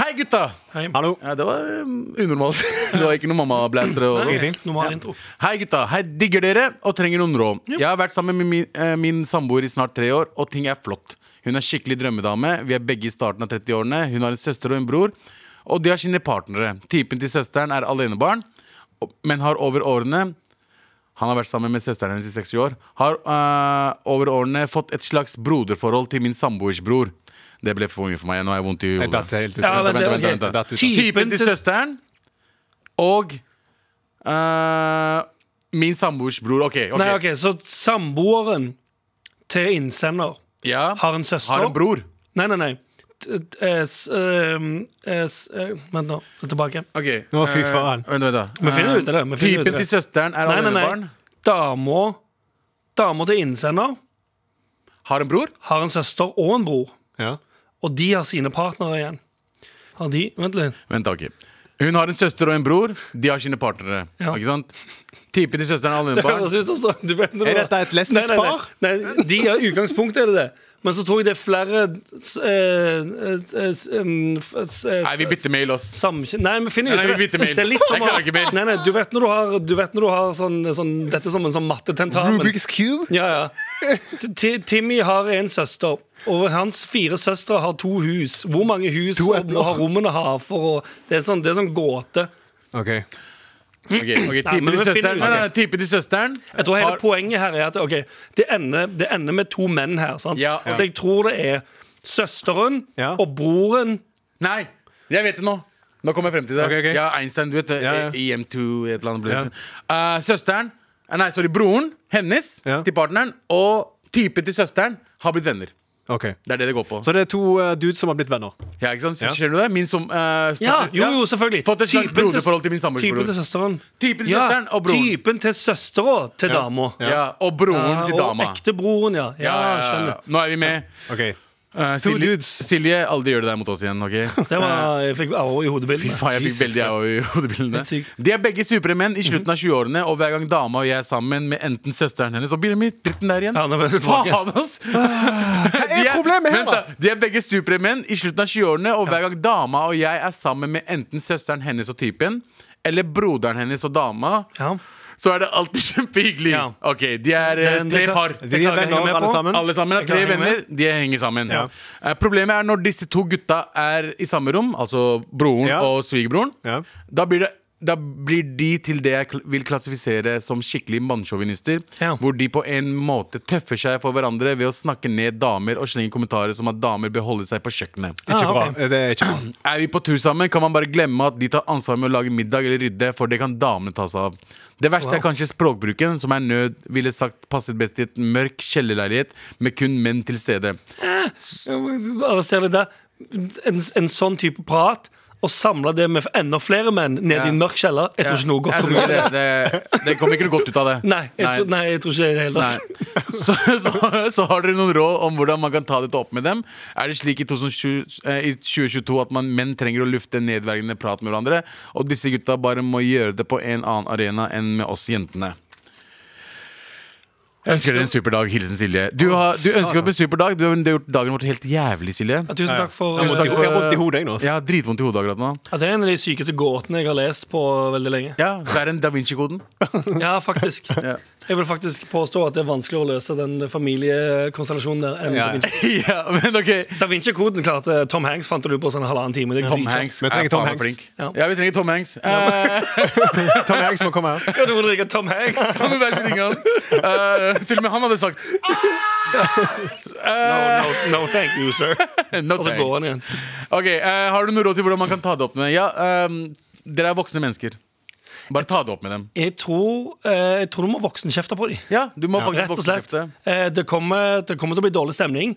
B: Hei, gutta!
C: Hei.
D: Hallo.
B: Ja, det var eh, unormalt. Det var ikke noe mammablaster. og- sånn.
C: Nei, Normal intro.
B: Hei gutta, hei digger dere og trenger noen råd. Jeg har vært sammen med min, eh, min samboer i snart tre år, og ting er flott. Hun er skikkelig drømmedame, vi er begge i starten av 30-årene, hun har en søster og en bror, og de har sine partnere. Typen til søsteren er alenebarn, og- men har over årene han har vært sammen med søsteren hennes i 60 år. Har eh, over årene fått et slags broderforhold til min samboers bror. Det ble for mye for meg. Nå har jeg vondt i
D: Jeg
B: hodet.
D: datt helt ut.
C: Ja, men det var
B: Vent,
C: gøy.
B: vent, vent, vent.
D: Ty-
B: Typen til søsteren og eh, min samboers bror. OK. ok.
C: Nei, ok, Så samboeren til innsender
B: Ja.
C: har en søster
B: Har en bror.
C: Nei, nei, nei. T- t- eh, s- ehm, eh, s- eh, Vent nå, jeg er tilbake.
B: OK.
D: Å, fy
B: eh,
D: faen.
B: vent, vent, da.
C: Vi finner ut av det. vi finner ut
B: Typen
C: av det.
B: til søsteren er
C: Nei, nei,
B: alenebarn.
C: nei. Dama Dama til innsender
B: Har en bror.
C: har en søster og en bror,
D: Ja.
C: og de har sine partnere igjen. Har de Vent litt.
B: Vent, da, OK. Hun har en søster og en bror. De har sine partnere.
C: Ja.
B: Ikke sant? Typen til søsteren er
C: Det høres
B: alenebarn.
C: ut som sånn, du vet når du-
D: Er dette et lesbisk
C: Nei, nei,
D: par?
C: Nei, nei, de er utgangspunktet er det det. Men så tror jeg det er flere s- eh, eh, s- em, f- s- eh,
B: Nei, vi bytter mail, ass.
C: Samkjø... Nei, vi finner ut
B: Nei, nei,
C: av
B: vi
C: det.
B: bytter mail.
C: Det er litt som
B: Jeg klarer
C: å-
B: ikke mail.
C: Nei, nei, du vet når du har, du vet når du har sånn, sånn, Dette er som en sånn mattetentamen.
D: Rubik's Cube?
C: Ja, ja. T- Ti- Timmy har en søster, og hans fire søstre har to hus. Hvor mange hus
D: To
C: og,
D: epler.
C: har rommene har for å Det er sånn, det er sånn gåte.
D: Ok.
B: Ok, ok,
C: men
B: Typen til
C: vi finner
B: søsteren
C: ut.
B: Nei, nei, nei, typen til søsteren
C: Jeg tror hele
B: har-
C: poenget her er at ok, det, ender, det ender med to menn her. Sant?
B: Ja, ja.
C: Så jeg tror det er søsteren
D: Ja.
C: og broren
B: Nei, jeg vet det nå. Nå kommer jeg frem til det.
D: Ok, ok.
B: Ja, Einstein, du vet det.
D: Ja, ja.
B: EM2, et eller annet. Eh, søsteren eh, Nei, sorry, broren hennes
D: Ja.
B: til partneren og typen til søsteren har blitt venner.
D: ok
B: Det er det det går på.
D: Så det er to eh, dudes som har blitt venner.
B: ja, ikke sant?
D: Ja.
B: Skjønner du det? Min som eh,
C: Ja,
B: fått-
C: jo, jo, selvfølgelig.
B: Fått et slags
C: Typen til-
B: broderforhold til min
C: Typen til
B: samboersbror.
C: søsteren.
B: Typen til søsteren og broren.
C: Typen til søstera til dama.
B: Ja. og broren
C: Ja,
B: til dama.
C: Og ektebroren, ja. Ja, skjønner.
B: Nå er vi med.
D: Ok
B: Eh,
D: Two
B: Silje,
D: dudes.
B: Silje, aldri gjør det der mot oss igjen. ok?
C: Det var, jeg fikk au i hodebildene.
B: Faen, jeg fikk
C: Jesus
B: veldig au i hodebildene.
C: Helt sykt.
B: De er begge supre menn i slutten av 20-årene, og hver gang dama og jeg er sammen med enten søsteren hennes og bilen min, dritten der igjen.
C: Ja, nå ble jeg tilbake.
B: Faen, ass! De er-
D: problemet her,
B: vent
D: da?
B: De er begge supre menn i slutten av 20-årene, og hver gang dama og jeg er sammen med enten søsteren hennes og typen, eller broderen hennes og dama,
C: Ja.
B: så er det alltid kjempehyggelig.
C: Ja.
B: Ok, de er eh,
C: Det- det
B: tre
C: klar-
B: par.
C: det
D: De
C: klarer jeg
D: er
C: ikke å
D: venner,
C: henge med
D: alle
C: på.
D: sammen.
B: Alle sammen er
C: Jeg
B: tre
C: klarer å henge
B: venner, de henger sammen.
D: Ja.
B: Eh, Problemet er når disse to gutta er i samme rom, altså broren
D: Ja.
B: og svigerbroren.
D: Ja.
B: Da blir det da blir de til det jeg kl- vil klassifisere som skikkelig mannssjåvinister.
C: Ja.
B: Hvor de på en måte tøffer seg for hverandre ved å snakke ned damer og slenge kommentarer som at damer bør holde seg på kjøkkenet.
D: Ikke
C: Ah,
D: bra.
C: ok.
D: Det er ikke bra.
B: Er vi på tur sammen, kan man bare glemme at de tar ansvar med å lage middag eller rydde, for det kan damene ta seg av. Det verste er kanskje språkbruken, som er nød ville sagt passet best i et mørk kjellerleilighet med kun menn til stede.
C: Arrester litt der. En, en sånn type prat, og samle det med enda flere menn ned i en mørk kjeller, jeg tror ikke noe
B: Jeg
C: godt
B: tror
C: kommer
B: det,
C: ut.
B: det, det kommer ikke noe godt ut av det.
C: Nei, jeg tror, nei, jeg tror ikke det i det hele tatt.
B: Nei. Så, så, så har dere noen råd om hvordan man kan ta dette opp med dem? Er det slik i 2020, eh, i 2022 at man menn trenger å lufte nedverdigende prat med hverandre, og disse gutta bare må gjøre det på en annen arena enn med oss jentene? Jeg ønsker dere en super dag. Hilsen Silje. Du, har, du ønsker oss en super dag. Du har du har gjort dagen vår helt jævlig, Silje.
C: Ja, tusen takk for
D: Jeg har vondt i- jeg har vondt i hodet, jeg nå.
B: Jeg har dritvondt i hodet akkurat nå.
C: ja, Det er en av de sykeste gåtene jeg har lest på veldig lenge.
B: Ja, Det er en Da Vinci-koden.
C: Ja, faktisk. Jeg vil faktisk påstå at det er vanskeligere å løse den familiekonstellasjonen der enn
D: Ja,
C: Da
D: ja.
C: Vinci.
B: ja, men ok
C: Da Vinci-koden klarte Tom Hanks fant du på sånn halvannen time. Det er
B: Tom
C: dritbra.
B: Hanks
D: Vi trenger
B: er faen
D: Tom
B: meg
D: Hanks.
B: flink.
C: Ja.
B: Ja, vi trenger Tom Hanks. Eh,
D: Tom Hanks må komme her.
C: Kan du drikke Tom Hanks?
B: Kan du velge din gang? Eh, til og med han hadde sagt
C: No, no, no thank you, sir.
B: no
C: Og så går
B: thanks.
C: han igjen.
B: Ok, eh, Har du noe råd til hvordan man kan ta det opp med Ja, ehm, Dere er voksne mennesker. Bare ta det opp med dem.
C: Jeg tror, eh, jeg tror du må voksenkjefte på dem.
B: Ja, du må faktisk
C: Rett og slett.
B: voksenkjefte.
C: Eh, det, kommer, det kommer til å bli dårlig stemning.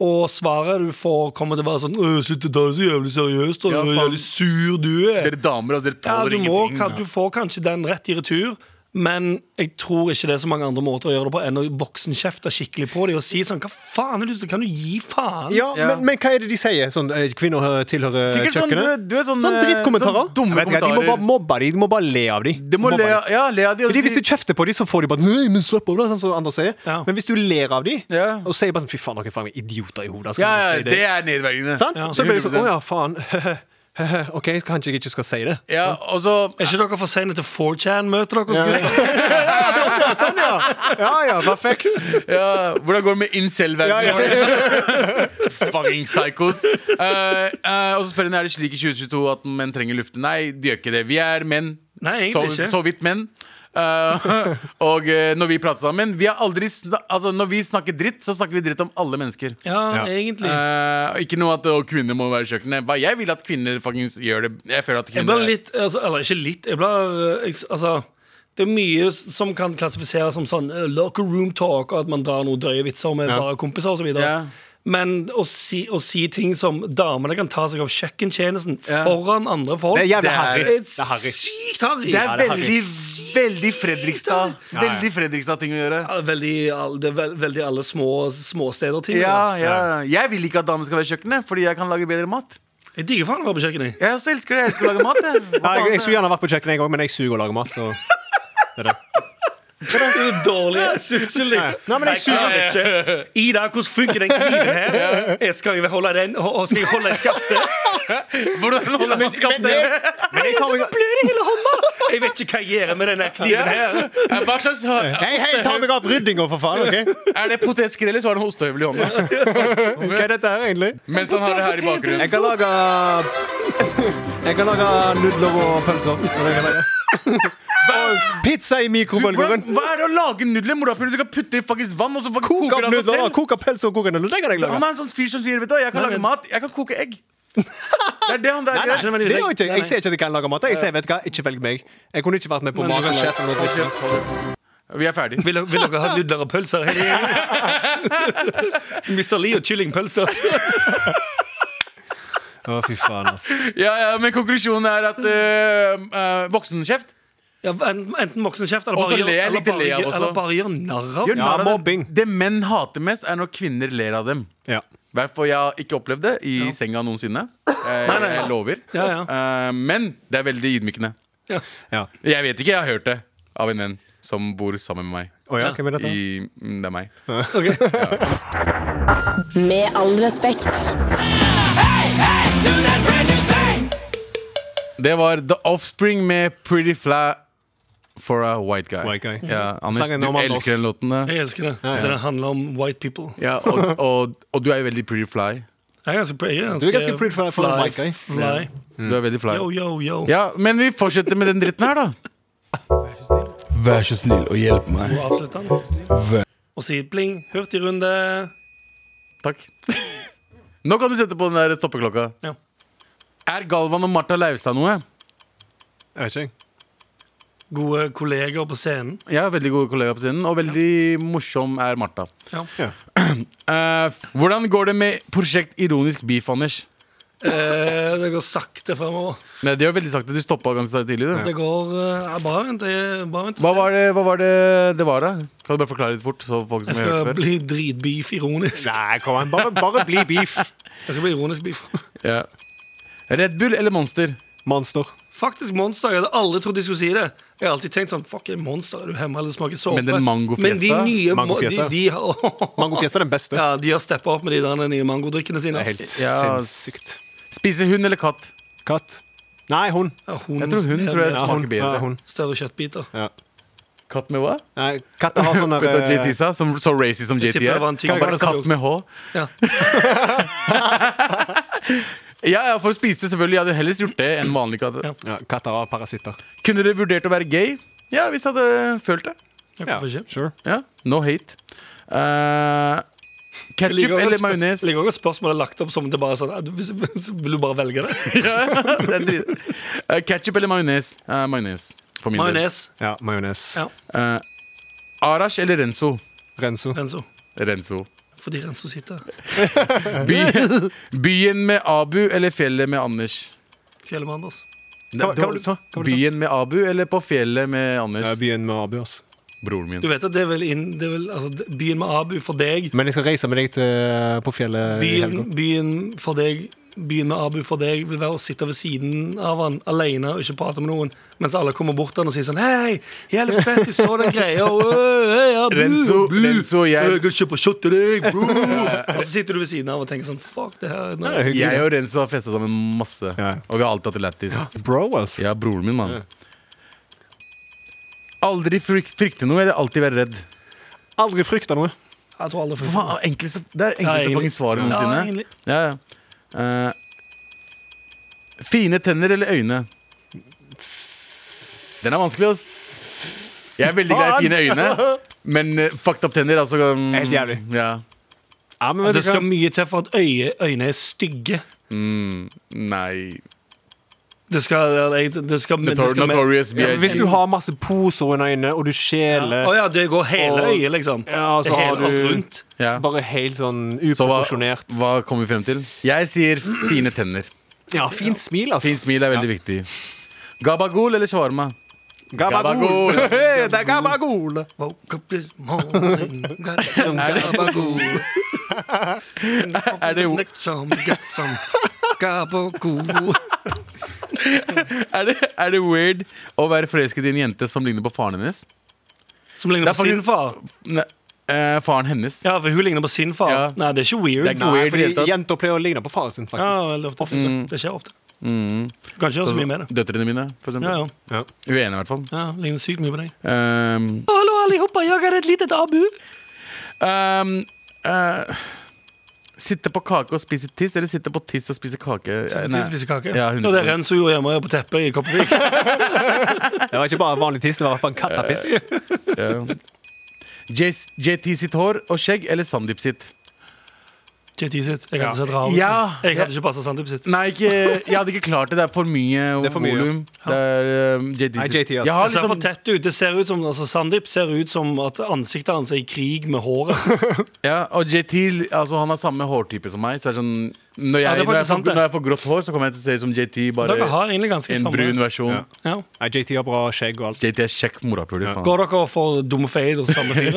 C: Og svaret du får, kommer til å være sånn «Øh, Slutt å ta det så jævlig seriøst. Og
B: Ja,
C: så
B: faen.
C: jævlig sur du er.
B: Dere damer altså, dere
C: Ja,
B: tåler
C: du, må,
B: ingenting.
C: kan, du får kanskje den rett i retur. Men jeg tror ikke det er så mange andre måter å gjøre det på enn å voksenkjefte skikkelig på dem og si sånn Hva faen er det du Kan du gi faen?
D: Ja,
B: Ja.
D: Men, men hva er det de sier? Sånn, eh, kvinner eh, tilhører
B: Sikkert sånn,
D: kjøkkenet?
B: du- du er sånn,
D: sånn
B: eh,
D: drittkommentarer.
B: sånn dumme
D: Jeg vet ikke, De må
B: kommentarer.
D: bare mobbe de, de må bare le av de.
B: Du må
D: Mobbe
B: le,
D: de.
B: ja, le av de og
D: Fordi
B: si-
D: Hvis du kjefter på de, så får de bare Nei, men slapp av, da, sånn som andre sier.
C: Ja.
D: Men hvis du ler av de
B: Ja.
D: og sier bare sånn Fy faen, dere er faen meg idioter i hodet. så
B: ja,
D: kan du
B: ja,
D: si
B: det er nedverdigende.
D: Sant?
B: Ja.
D: Så blir det sånn
B: 100%.
D: Å ja, faen. OK, kanskje jeg ikke skal si det.
B: Ja, og så
C: Er ikke dere for sene til 4chan-møtet deres, gutter?
D: Ja, sånn, ja. ja ja, perfekt.
B: ja, Hvordan går det med
D: Ja, ja.
B: incel-verdenen? Fucking psychos. Eh, eh, og så spør hun er det slik i 2022 at menn trenger lufte. Nei, de gjør ikke det. Vi er menn.
C: Nei,
B: så,
C: egentlig ikke.
B: så vidt menn. Eh, og eh, når vi prater sammen vi har aldri sna altså, Når vi snakker dritt, så snakker vi dritt om alle mennesker.
C: Ja,
D: Ja.
C: egentlig.
B: Eh, ikke noe at å, kvinner må være i kjøkkenet. Hva jeg vil at kvinner faktisk gjør det. Jeg føler at
C: Jeg blir
B: kvinner
C: litt, altså, eller ikke litt Jeg blir, eh, jeg, altså det er mye som kan klassifiseres som sånn eh, locker room talk, og at man drar noen drøye vitser med bare kompiser osv. videre
B: Ja.
C: Men å si, å si ting som damene kan ta seg av kjøkkentjenesten
B: Ja.
C: foran andre folk
D: Det er jævlig harry.
C: Det er
D: Det er harry.
C: sykt harry.
B: Det er
D: Ja, det er
B: veldig, veldig Fredrikstad Veldig Fredrikstad-ting å gjøre.
C: Ja, veldig, all- det er vel- veldig alle små småsteder-ting.
B: Ja, ja. Jeg vil ikke at damer skal være i kjøkkenet, fordi jeg kan lage bedre mat.
C: da. Jeg digger faen å være på kjøkkenet.
B: Jeg også elsker det. Jeg elsker å lage mat. Jeg. Hva
D: Ja, jeg,
B: faen?
D: jeg skulle gjerne vært på kjøkkenet, jeg òg, men jeg suger å lage mat. Så det er det.
C: Det er dårlig. Unnskyld.
D: Nei, men jeg suger.
C: Jeg kan ikke. Ida, hvordan funker den kniven her? Jeg skal jo holde den og skal jeg holde skaftet?
B: Hvordan holder man skapet nede?
D: Men jeg kommer ikke
C: Blør i hele hånda! Jeg vet ikke hva jeg gjør med den her kniven her.
B: Eh, Hva slags
D: Hei, hei, ta meg av ryddinga, for fain! ok?
B: Er det potetskrell, eller så har han ostehøvel i hånda?
D: Hva er dette her, egentlig?
B: Mens han har det her i bakgrunnen.
D: Jeg kan lage Jeg kan lage nudler og pølser. Det kan jeg lage. Og pizza i
B: Hvordan,
D: mikrobølgeovnen.
B: hva er det å lage nudler? Morapuler du skal putte i faktisk vann, og så fucking
D: Koke
B: koker det
D: opp
B: av seg
D: nudler,
B: selv?
D: koke pølser og koke nudler. Det kan jeg
B: Han
D: lage.
B: er en sånn fyr som sier Vet du hva, jeg kan lage mat, jeg kan koke egg. Det er det han der
D: Nei,
B: gjør.
D: nei, det gjør jeg ikke. Jeg sier ikke at jeg kan lage mat. Jeg sier, vet du hva, ikke velg meg. Jeg kunne ikke vært med på
C: Men du kan
D: Masterchef eller noe
B: Hold
D: dritt.
B: kjeft, hold kjeft. Vi er ferdig.
C: Vil, vil dere ha nudler og pølser? Mr. Lee og kyllingpølser.
D: Å, fy faen, ass.
B: Ja, ja, men konklusjonen er at eh, eh, voksenkjeft
C: Ja, en- enten voksenkjeft eller
B: Og så
C: bare,
B: ler jeg
C: gjør- eller
B: litt til
C: bare,
B: le av
C: gjør-
B: også.
C: eller bare gjør narr av.
B: gjør
D: Ja,
B: narr av dem.
D: mobbing.
B: Det menn hater mest, er når kvinner ler av dem.
D: Ja.
B: Derfor jeg har ikke opplevd det i senga noensinne. Eh,
C: Nei, nei, nei.
B: Jeg lover.
C: Ja, ja.
B: Eh, men det er veldig ydmykende.
C: Ja.
D: Ja.
B: Jeg vet ikke, jeg har hørt det av en venn som bor sammen med meg.
D: Å ja, hvem er dette?
B: I, mm, det er meg.
E: Med all respekt.
B: Det var The Offspring med Pretty Fly for a White Guy.
D: White guy.
B: Ja, Anders,
D: Sangen
B: du
D: om Anders.
B: elsker den låten. der.
C: Jeg elsker det. Det handler om white people.
B: Ja, og, og, og du er jo veldig pretty fly.
C: Jeg er ganske, jeg er ganske,
D: Du er ganske pretty fly- fly mic, guy.
C: fly.
B: Du er veldig flau.
C: Mm. Yo, yo, yo.
B: Ja, men vi fortsetter med den dritten her, da. Vær så snill og hjelp meg.
C: Og avslutte den. Og si bling, hurtigrunde.
B: Takk. Nå kan du sette på den der stoppeklokka.
C: Ja.
B: Er Galvan og Martha Leivstad noe?
D: Jeg vet ikke, jeg.
C: Gode kolleger på scenen.
B: Jeg har veldig gode kollegaer på scenen, og veldig morsom er Martha.
C: Ja.
B: Eh, hvordan går det med prosjekt Ironisk beef, Anders?
C: Eh, det går sakte fremover.
B: Nei, det er jo veldig sagt at du stoppa ganske tidlig. Du.
C: Det går eh, ja, Bare vent. jeg- Bare vent og
B: Hva
C: se.
B: var det hva var det, det var, da? Kan du bare forklare litt fort? Så folk som
C: Jeg
B: har hørt
C: skal
B: det før?
C: bli dritbeef ironisk.
D: Nei, kom an. Bare, bare bli beef.
C: Jeg skal bli ironisk beef.
B: Ja. Red Bull eller Monster?
D: Monster.
C: Faktisk monster. Jeg hadde aldri trodd de skulle si det. Jeg har alltid tenkt sånn Fuck, er monster er du hjemme eller smaker såpe?
B: Men den mangofjesta-
C: Men de nye mo-
D: Mangofjesta.
C: De, de, har-
D: Mangofjes er den beste.
C: ja, de har steppa opp med de der nye mangodrikkene sine.
D: Helt
B: Ja.
D: sinnssykt.
B: Spise hund eller katt?
D: Katt. Nei, hun.
C: Ja, hun,
B: Jeg tror hun tror jeg
D: Ja,
B: smaker
D: hun.
B: bedre.
D: Ja, hun.
C: Større kjøttbiter.
B: Katt med hva?
D: Nei, katter har sånn
B: Vet du hva JT
D: derre
B: sa? Som, så racist som JT
C: tipper
B: er.
C: det var en ting-
B: Han bare katt med H.
C: Ja.
B: Ja, ja, for å spise, selvfølgelig. Jeg hadde helst gjort det enn vanlig katt.
C: Ja.
D: ja, Katter har parasitter.
B: Kunne dere vurdert å være gay? Ja, hvis jeg hadde følt det.
C: Ja, hvorfor ikke?
D: sure.
B: Ja, No hate. Uh,
C: Jeg
B: Ketchup
C: liker også-
B: eller majones?
C: Jeg liker også at spørsmålet er lagt opp som det bare er sånn «Ja, du- hvis- hvis- Vil du bare velge det?
B: Uh, Ketchup eller majones? Uh, majones. For min del.
C: Majones.
D: Ja, majones.
C: Ja.
B: Eh, Arash eller Renzo?
D: Renzo.
C: Renzo.
B: Renzo.
C: Fordi Renzo sitter her.
B: By, byen med Abu eller fjellet med Anders?
C: Fjellet med Anders.
B: Det,
D: hva var det du sa? Hva var det du
B: Byen med Abu eller på fjellet med
D: Ja,
B: Anders?
D: Byen med Abu, ass.
B: Broren min.
C: Du vet at det er vel inn det er vel, altså, det- Byen med Abu for deg.
D: Men jeg skal reise med deg til, eh, på fjellet i helga.
C: Byen, byen for deg Byen med Abu for deg vil være å sitte ved siden av han alene og ikke prate med noen, mens alle kommer bort til han og sier sånn Hei, jævlig fett, jeg så den greia. Øy, hei, Abu,
B: Renzo,
C: Abu,
B: Renzo og
D: Øh,
B: jeg
C: kan kjøpe shot til deg, bro. Og så sitter du ved siden av og tenker sånn Fuck, det her er
D: Det er
C: nice.
D: hyggelig.
B: Jeg og Renzo har festa sammen masse.
D: Ja.
B: Og vi har alltid hatt det lættis.
D: Bro, ass.
B: Ja, broren min, mann. Aldri fryk frykte noe eller alltid være redd.
D: Aldri frykta noe.
C: Jeg tror aldri for
B: Faen, enkleste, det er enkleste
C: Ja, egentlig.
B: fucking svaret
C: Ja,
B: noensinne.
C: egentlig.
B: Ja, ja. Eh, fine tenner eller øyne? Den er vanskelig, ass. Jeg er veldig glad i fine øyne, men eh, fucked up tenner altså, mm,
D: Helt jævlig.
B: Ja.
D: Ja, men vet
C: Det
D: du
C: skal
D: hva?
C: mye til for at øye, øynene er stygge.
B: Nei
C: Det skal, jeg- det skal, men det
B: Notor
C: skal mer-
B: Notorious
D: Ja,
B: B.I.G.
D: men hvis du har masse poser under øynene, og du skjeler
C: Å ja, det går hele
D: Og-
C: øyet, liksom.
D: Ja, så
C: Det
D: har
C: hele alt
D: du
C: rundt.
B: ja.
D: bare helt sånn
B: Så hva,
D: uproporsjonert.
B: hva kommer vi frem til? Jeg sier fine tenner.
D: Ja, fint smil, ass.
B: Fint smil er veldig viktig. Gabagol eller shawarma?
D: Gabagol.
B: Gabagol.
D: Hey, det er gabagol.
C: Woke up this morning, got some gabagool.
B: Er det-
C: Got some, got some gabagool.
B: Er det, er det weird å være forelsket i en jente som ligner på faren hennes?
C: Som ligner
B: Det er
C: på sin
B: faktisk-
C: far.
B: Ne, eh, faren hennes.
C: Ja, for hun ligner på sin far.
B: Ja.
C: Nei, det er ikke weird.
B: Det er ikke weird i det hele tatt.
D: Fordi jenter pleier å ligne på faren sin, faktisk.
C: Ja, veldig ofte.
B: Mm.
C: Det skjer ofte. Du kan ikke gjøre så mye med det.
B: Døtrene mine, for eksempel.
C: Ja, ja.
D: Ja.
B: Uenige, i hvert fall.
C: ja ligner sykt mye på deg.
B: Ehm,
C: Hallo, allihopa, jeg er et lite abu.
B: ehm, eh, sitte på kake og spise tiss, eller sitte på tiss og spise kake? Eh,
C: Til
B: nei.
C: å spise kake.
B: Ja,
C: Ja,
B: hundre
C: det er
B: prosent.
C: Renzo gjorde hjemme på teppet i Kopervik.
D: Det var ikke bare vanlig tiss, det var i hvert fall en kattepiss.
B: Ja. J- JT sitt hår og skjegg, eller Sandeep sitt?
C: JT sitt. Jeg hadde sett rar ut.
B: Ja.
C: Jeg hadde ikke passa Sandeep sitt.
B: Nei, ikke, jeg hadde ikke klart det. Det er for mye
D: Det er for mye, ja.
B: volum. Det er um, JT
D: Nei,
B: sitt.
D: JT, altså.
B: Jeg
C: Det
B: har
C: ser
B: liksom,
C: for tett ut. Det ser ut som, altså Sandeep ser ut som at ansiktet hans er i krig med håret.
B: ja, og JT altså, han har samme hårtype som meg. Så er det sånn, når, jeg,
C: Ja, det er faktisk
B: når, jeg får,
C: sant, det.
B: når jeg får grått hår, så kommer jeg til å se ut som JT, bare
C: Dere har egentlig ganske
B: en
C: samme
B: brun versjon.
D: Ja.
C: Ja.
D: Nei, JT har bra skjegg og alt.
B: JT er kjekk morapuler. faen.
C: Går dere for dumme fade hos samme fyr?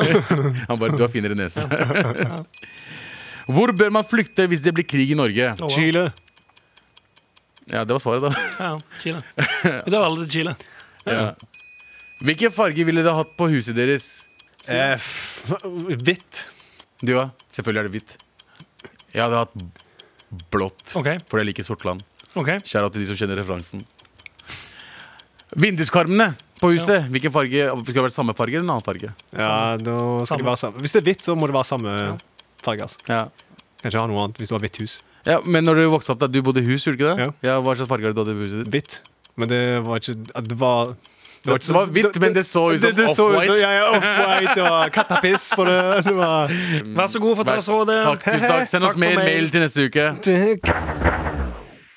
B: Han bare, du har finere nese. Hvor bør man flykte hvis det blir krig i Norge?
C: Oh, wow.
D: Chile.
B: Ja, det var svaret, da.
C: Ja, Chile. I dag er alle til Chile.
B: Ja. Hvilken farge ville dere hatt på huset deres?
D: Eh, f- Hvitt.
B: Du, ja. Selvfølgelig er det hvitt. Jeg hadde hatt blått,
C: Ok,
B: fordi jeg liker Sortland.
C: ok
B: Kjære til de som kjenner referansen. Vinduskarmene på huset. Hvilken farge? Skal det være samme farge eller en annen farge?
D: Ja, da skal det være samme. Hvis det er hvitt, så må det være samme farge. Altså.
B: Ja.
D: Kan ikke ha noe annet hvis du har hvitt hus.
B: Ja, men når du vokste opp, da, du bodde i hus, gjorde du ikke det?
D: Ja.
B: Ja, Hva slags farge hadde du i huset ditt?
D: Hvitt. Men det var ikke Det var
B: Det
D: ikke så-
B: var hvitt, men det så ut som
D: Det- det så ut som-
B: Off-White.
D: Ja, ja, off-white. Det var kattepiss på det. det var
B: Mm,
C: Vær så god, fortell oss hva det
B: Takk, tusen takk. dus Send oss
C: Takk for
B: mer
C: mail.
B: mail til neste uke.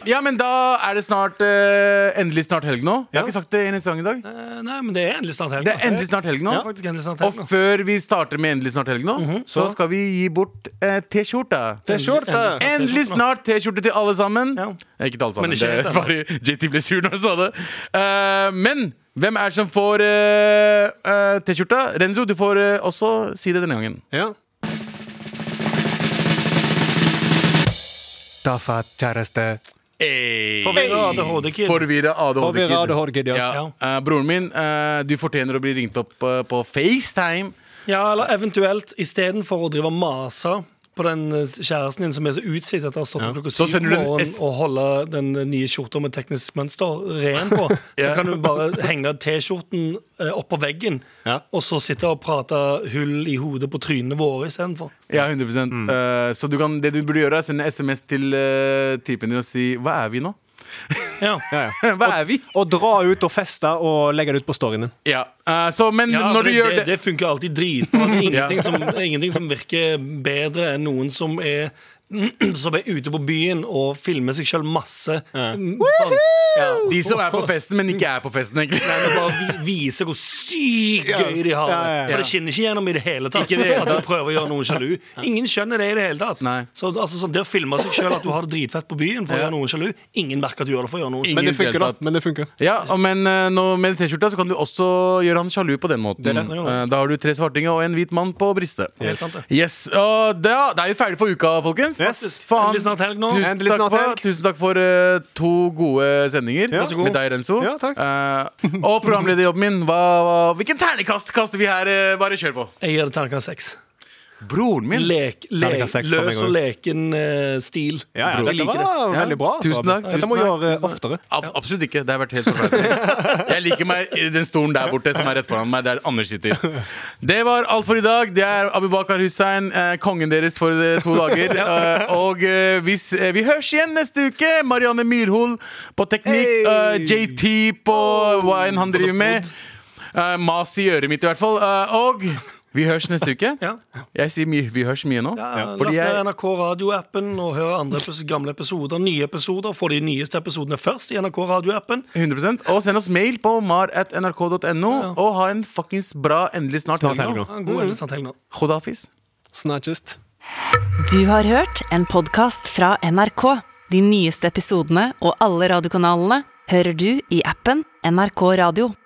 B: Ja, men da er det snart eh, endelig snart helg nå. Jeg har
D: Ja.
B: ikke sagt det en eneste gang i dag.
C: Eh, Nei, men det er endelig snart helg.
B: Det er endelig snart helg nå.
C: Ja, faktisk endelig snart
B: Og
C: helg. nå.
B: før vi starter med endelig snart helg nå, Mhm. så
D: så-
B: skal vi gi bort eh, T-skjorte.
D: T-skjorte!
C: Endelig.
B: Endelig snart T-skjorte til alle sammen.
C: Ja.
B: Eh, Ikke til alle sammen.
C: Men ikke helt
B: det,
C: ennå.
B: bare JT ble sur når han sa det. Eh, men hvem er det som får eh, eh, T-skjorta? Renzo, du får eh, også si det denne gangen.
D: Ja. Dafa kjæreste.
C: Forvirra ADHD-kid.
B: Forvirra ADHD-kid.
D: Forvirra ADHD-kid, ja.
B: Eh, broren min, eh, du fortjener å bli ringt opp eh, på FaceTime.
C: Ja, eller eventuelt istedenfor å drive og mase på den eh, kjæresten din som er så utslitt etter å ha stått opp klokka
B: Så
C: syv
B: sender
C: om
B: du en
C: morgenen
B: S.
C: og holde den eh, nye skjorta med teknisk mønster ren på, så
B: Ja.
C: kan du bare henge T-skjorten eh, oppå veggen,
D: Ja.
C: og så sitte og prate hull i hodet på trynene våre istedenfor.
B: Ja, 100
C: Mm.
B: Eh, Så du kan, det du burde gjøre, er sende SMS til eh, typen din og si 'Hva er vi nå?'
C: Ja.
D: Ja, ja.
B: Hva er vi?
D: Og dra ut og feste og legge det ut på storyen din.
B: Ja, eh, så, men
C: Ja,
B: når
C: for
B: du
C: det,
B: gjør
C: det, det funker alltid dritbra. Det er ingenting,
B: Ja.
C: som, ingenting som virker bedre enn noen som er som er ute på byen og filmer seg sjøl masse. Mm, Sånn, ja,
B: De som er på festen, men ikke er på festen, egentlig.
C: men bare vi, vise hvor sykt gøy de har det.
D: Ja, ja, ja.
C: For det skinner ikke gjennom i det hele tatt.
B: Ikke i det hele
C: At du prøver å gjøre noen sjalu. Ingen skjønner det i det hele tatt.
B: Nei.
C: Så altså, sånn, Det å filme seg sjøl at du har det dritfett på byen for å
B: Ja.
C: gjøre noen sjalu Ingen merker at du gjør det for å gjøre noen sjalu.
B: Ingen
D: Men det funker, da.
B: deltatt.
D: Men det funker.
B: Ja, og men eh, nå med T-skjorta så kan du også gjøre han sjalu på den måten.
D: Det er det.
B: Eh, da har du tre svartinger og en hvit mann på brystet.
C: Helt sant, det.
B: Yes, og da, Det er jo ferdig for uka, folkens.
D: Yes.
B: Faen.
C: Endelig snart helg nå.
B: Tusen
D: Endelig
B: takk,
D: snart
B: for,
D: helg.
B: tusen takk for eh, to gode sendinger
D: Vær så god.
B: med deg, Renzo.
D: Ja, takk.
B: Eh, og programlederjobben min. Hva, hva, hvilken ternekast kaster vi her? eh, bare kjør på.
C: Jeg gir det terningkast seks.
B: Broren min.
C: Lek, lek,
D: Terningkast seks for meg
C: løs og leken eh, stil.
D: Ja, ja,
C: Jeg
D: dette
C: liker det.
D: var
B: Ja.
D: veldig bra. altså.
B: Tusen takk,
D: Dette
B: tusen
D: må vi
B: takk,
D: gjøre
B: tusen takk.
D: oftere.
B: Ab absolutt ikke. Det har vært helt forferdelig. Jeg liker meg i den stolen der borte som er rett foran meg, der Anders sitter. Det var alt for i dag. Det er Abubakar Hussein, eh, kongen deres for eh, to dager. Eh, og eh, hvis, eh, vi høres igjen neste uke. Marianne Myrhol på teknikk.
D: Hey!
B: eh, JT på
C: Oh.
B: hva enn han driver med. Eh, mas i øret mitt, i hvert fall. Eh, og vi høres neste uke.
C: Ja.
B: Jeg sier mye, vi høres mye nå.
C: Ja,
B: Fordi
C: Eh, Last ned
B: jeg,
C: NRK radioappen og hør andre epis- gamle episoder, nye episoder. Få de nyeste episodene først i NRK radioappen.
B: 100% Og send oss mail på mar at nrk.no Og ha en fuckings bra endelig snart,
D: Snart
B: helg nå.
D: helg nå.
C: Ha en God endelig sant helg nå.
B: Khuda Hafiz.
D: Snartest.
A: Du har hørt en podkast fra NRK. De nyeste episodene og alle radiokanalene hører du i appen NRK Radio.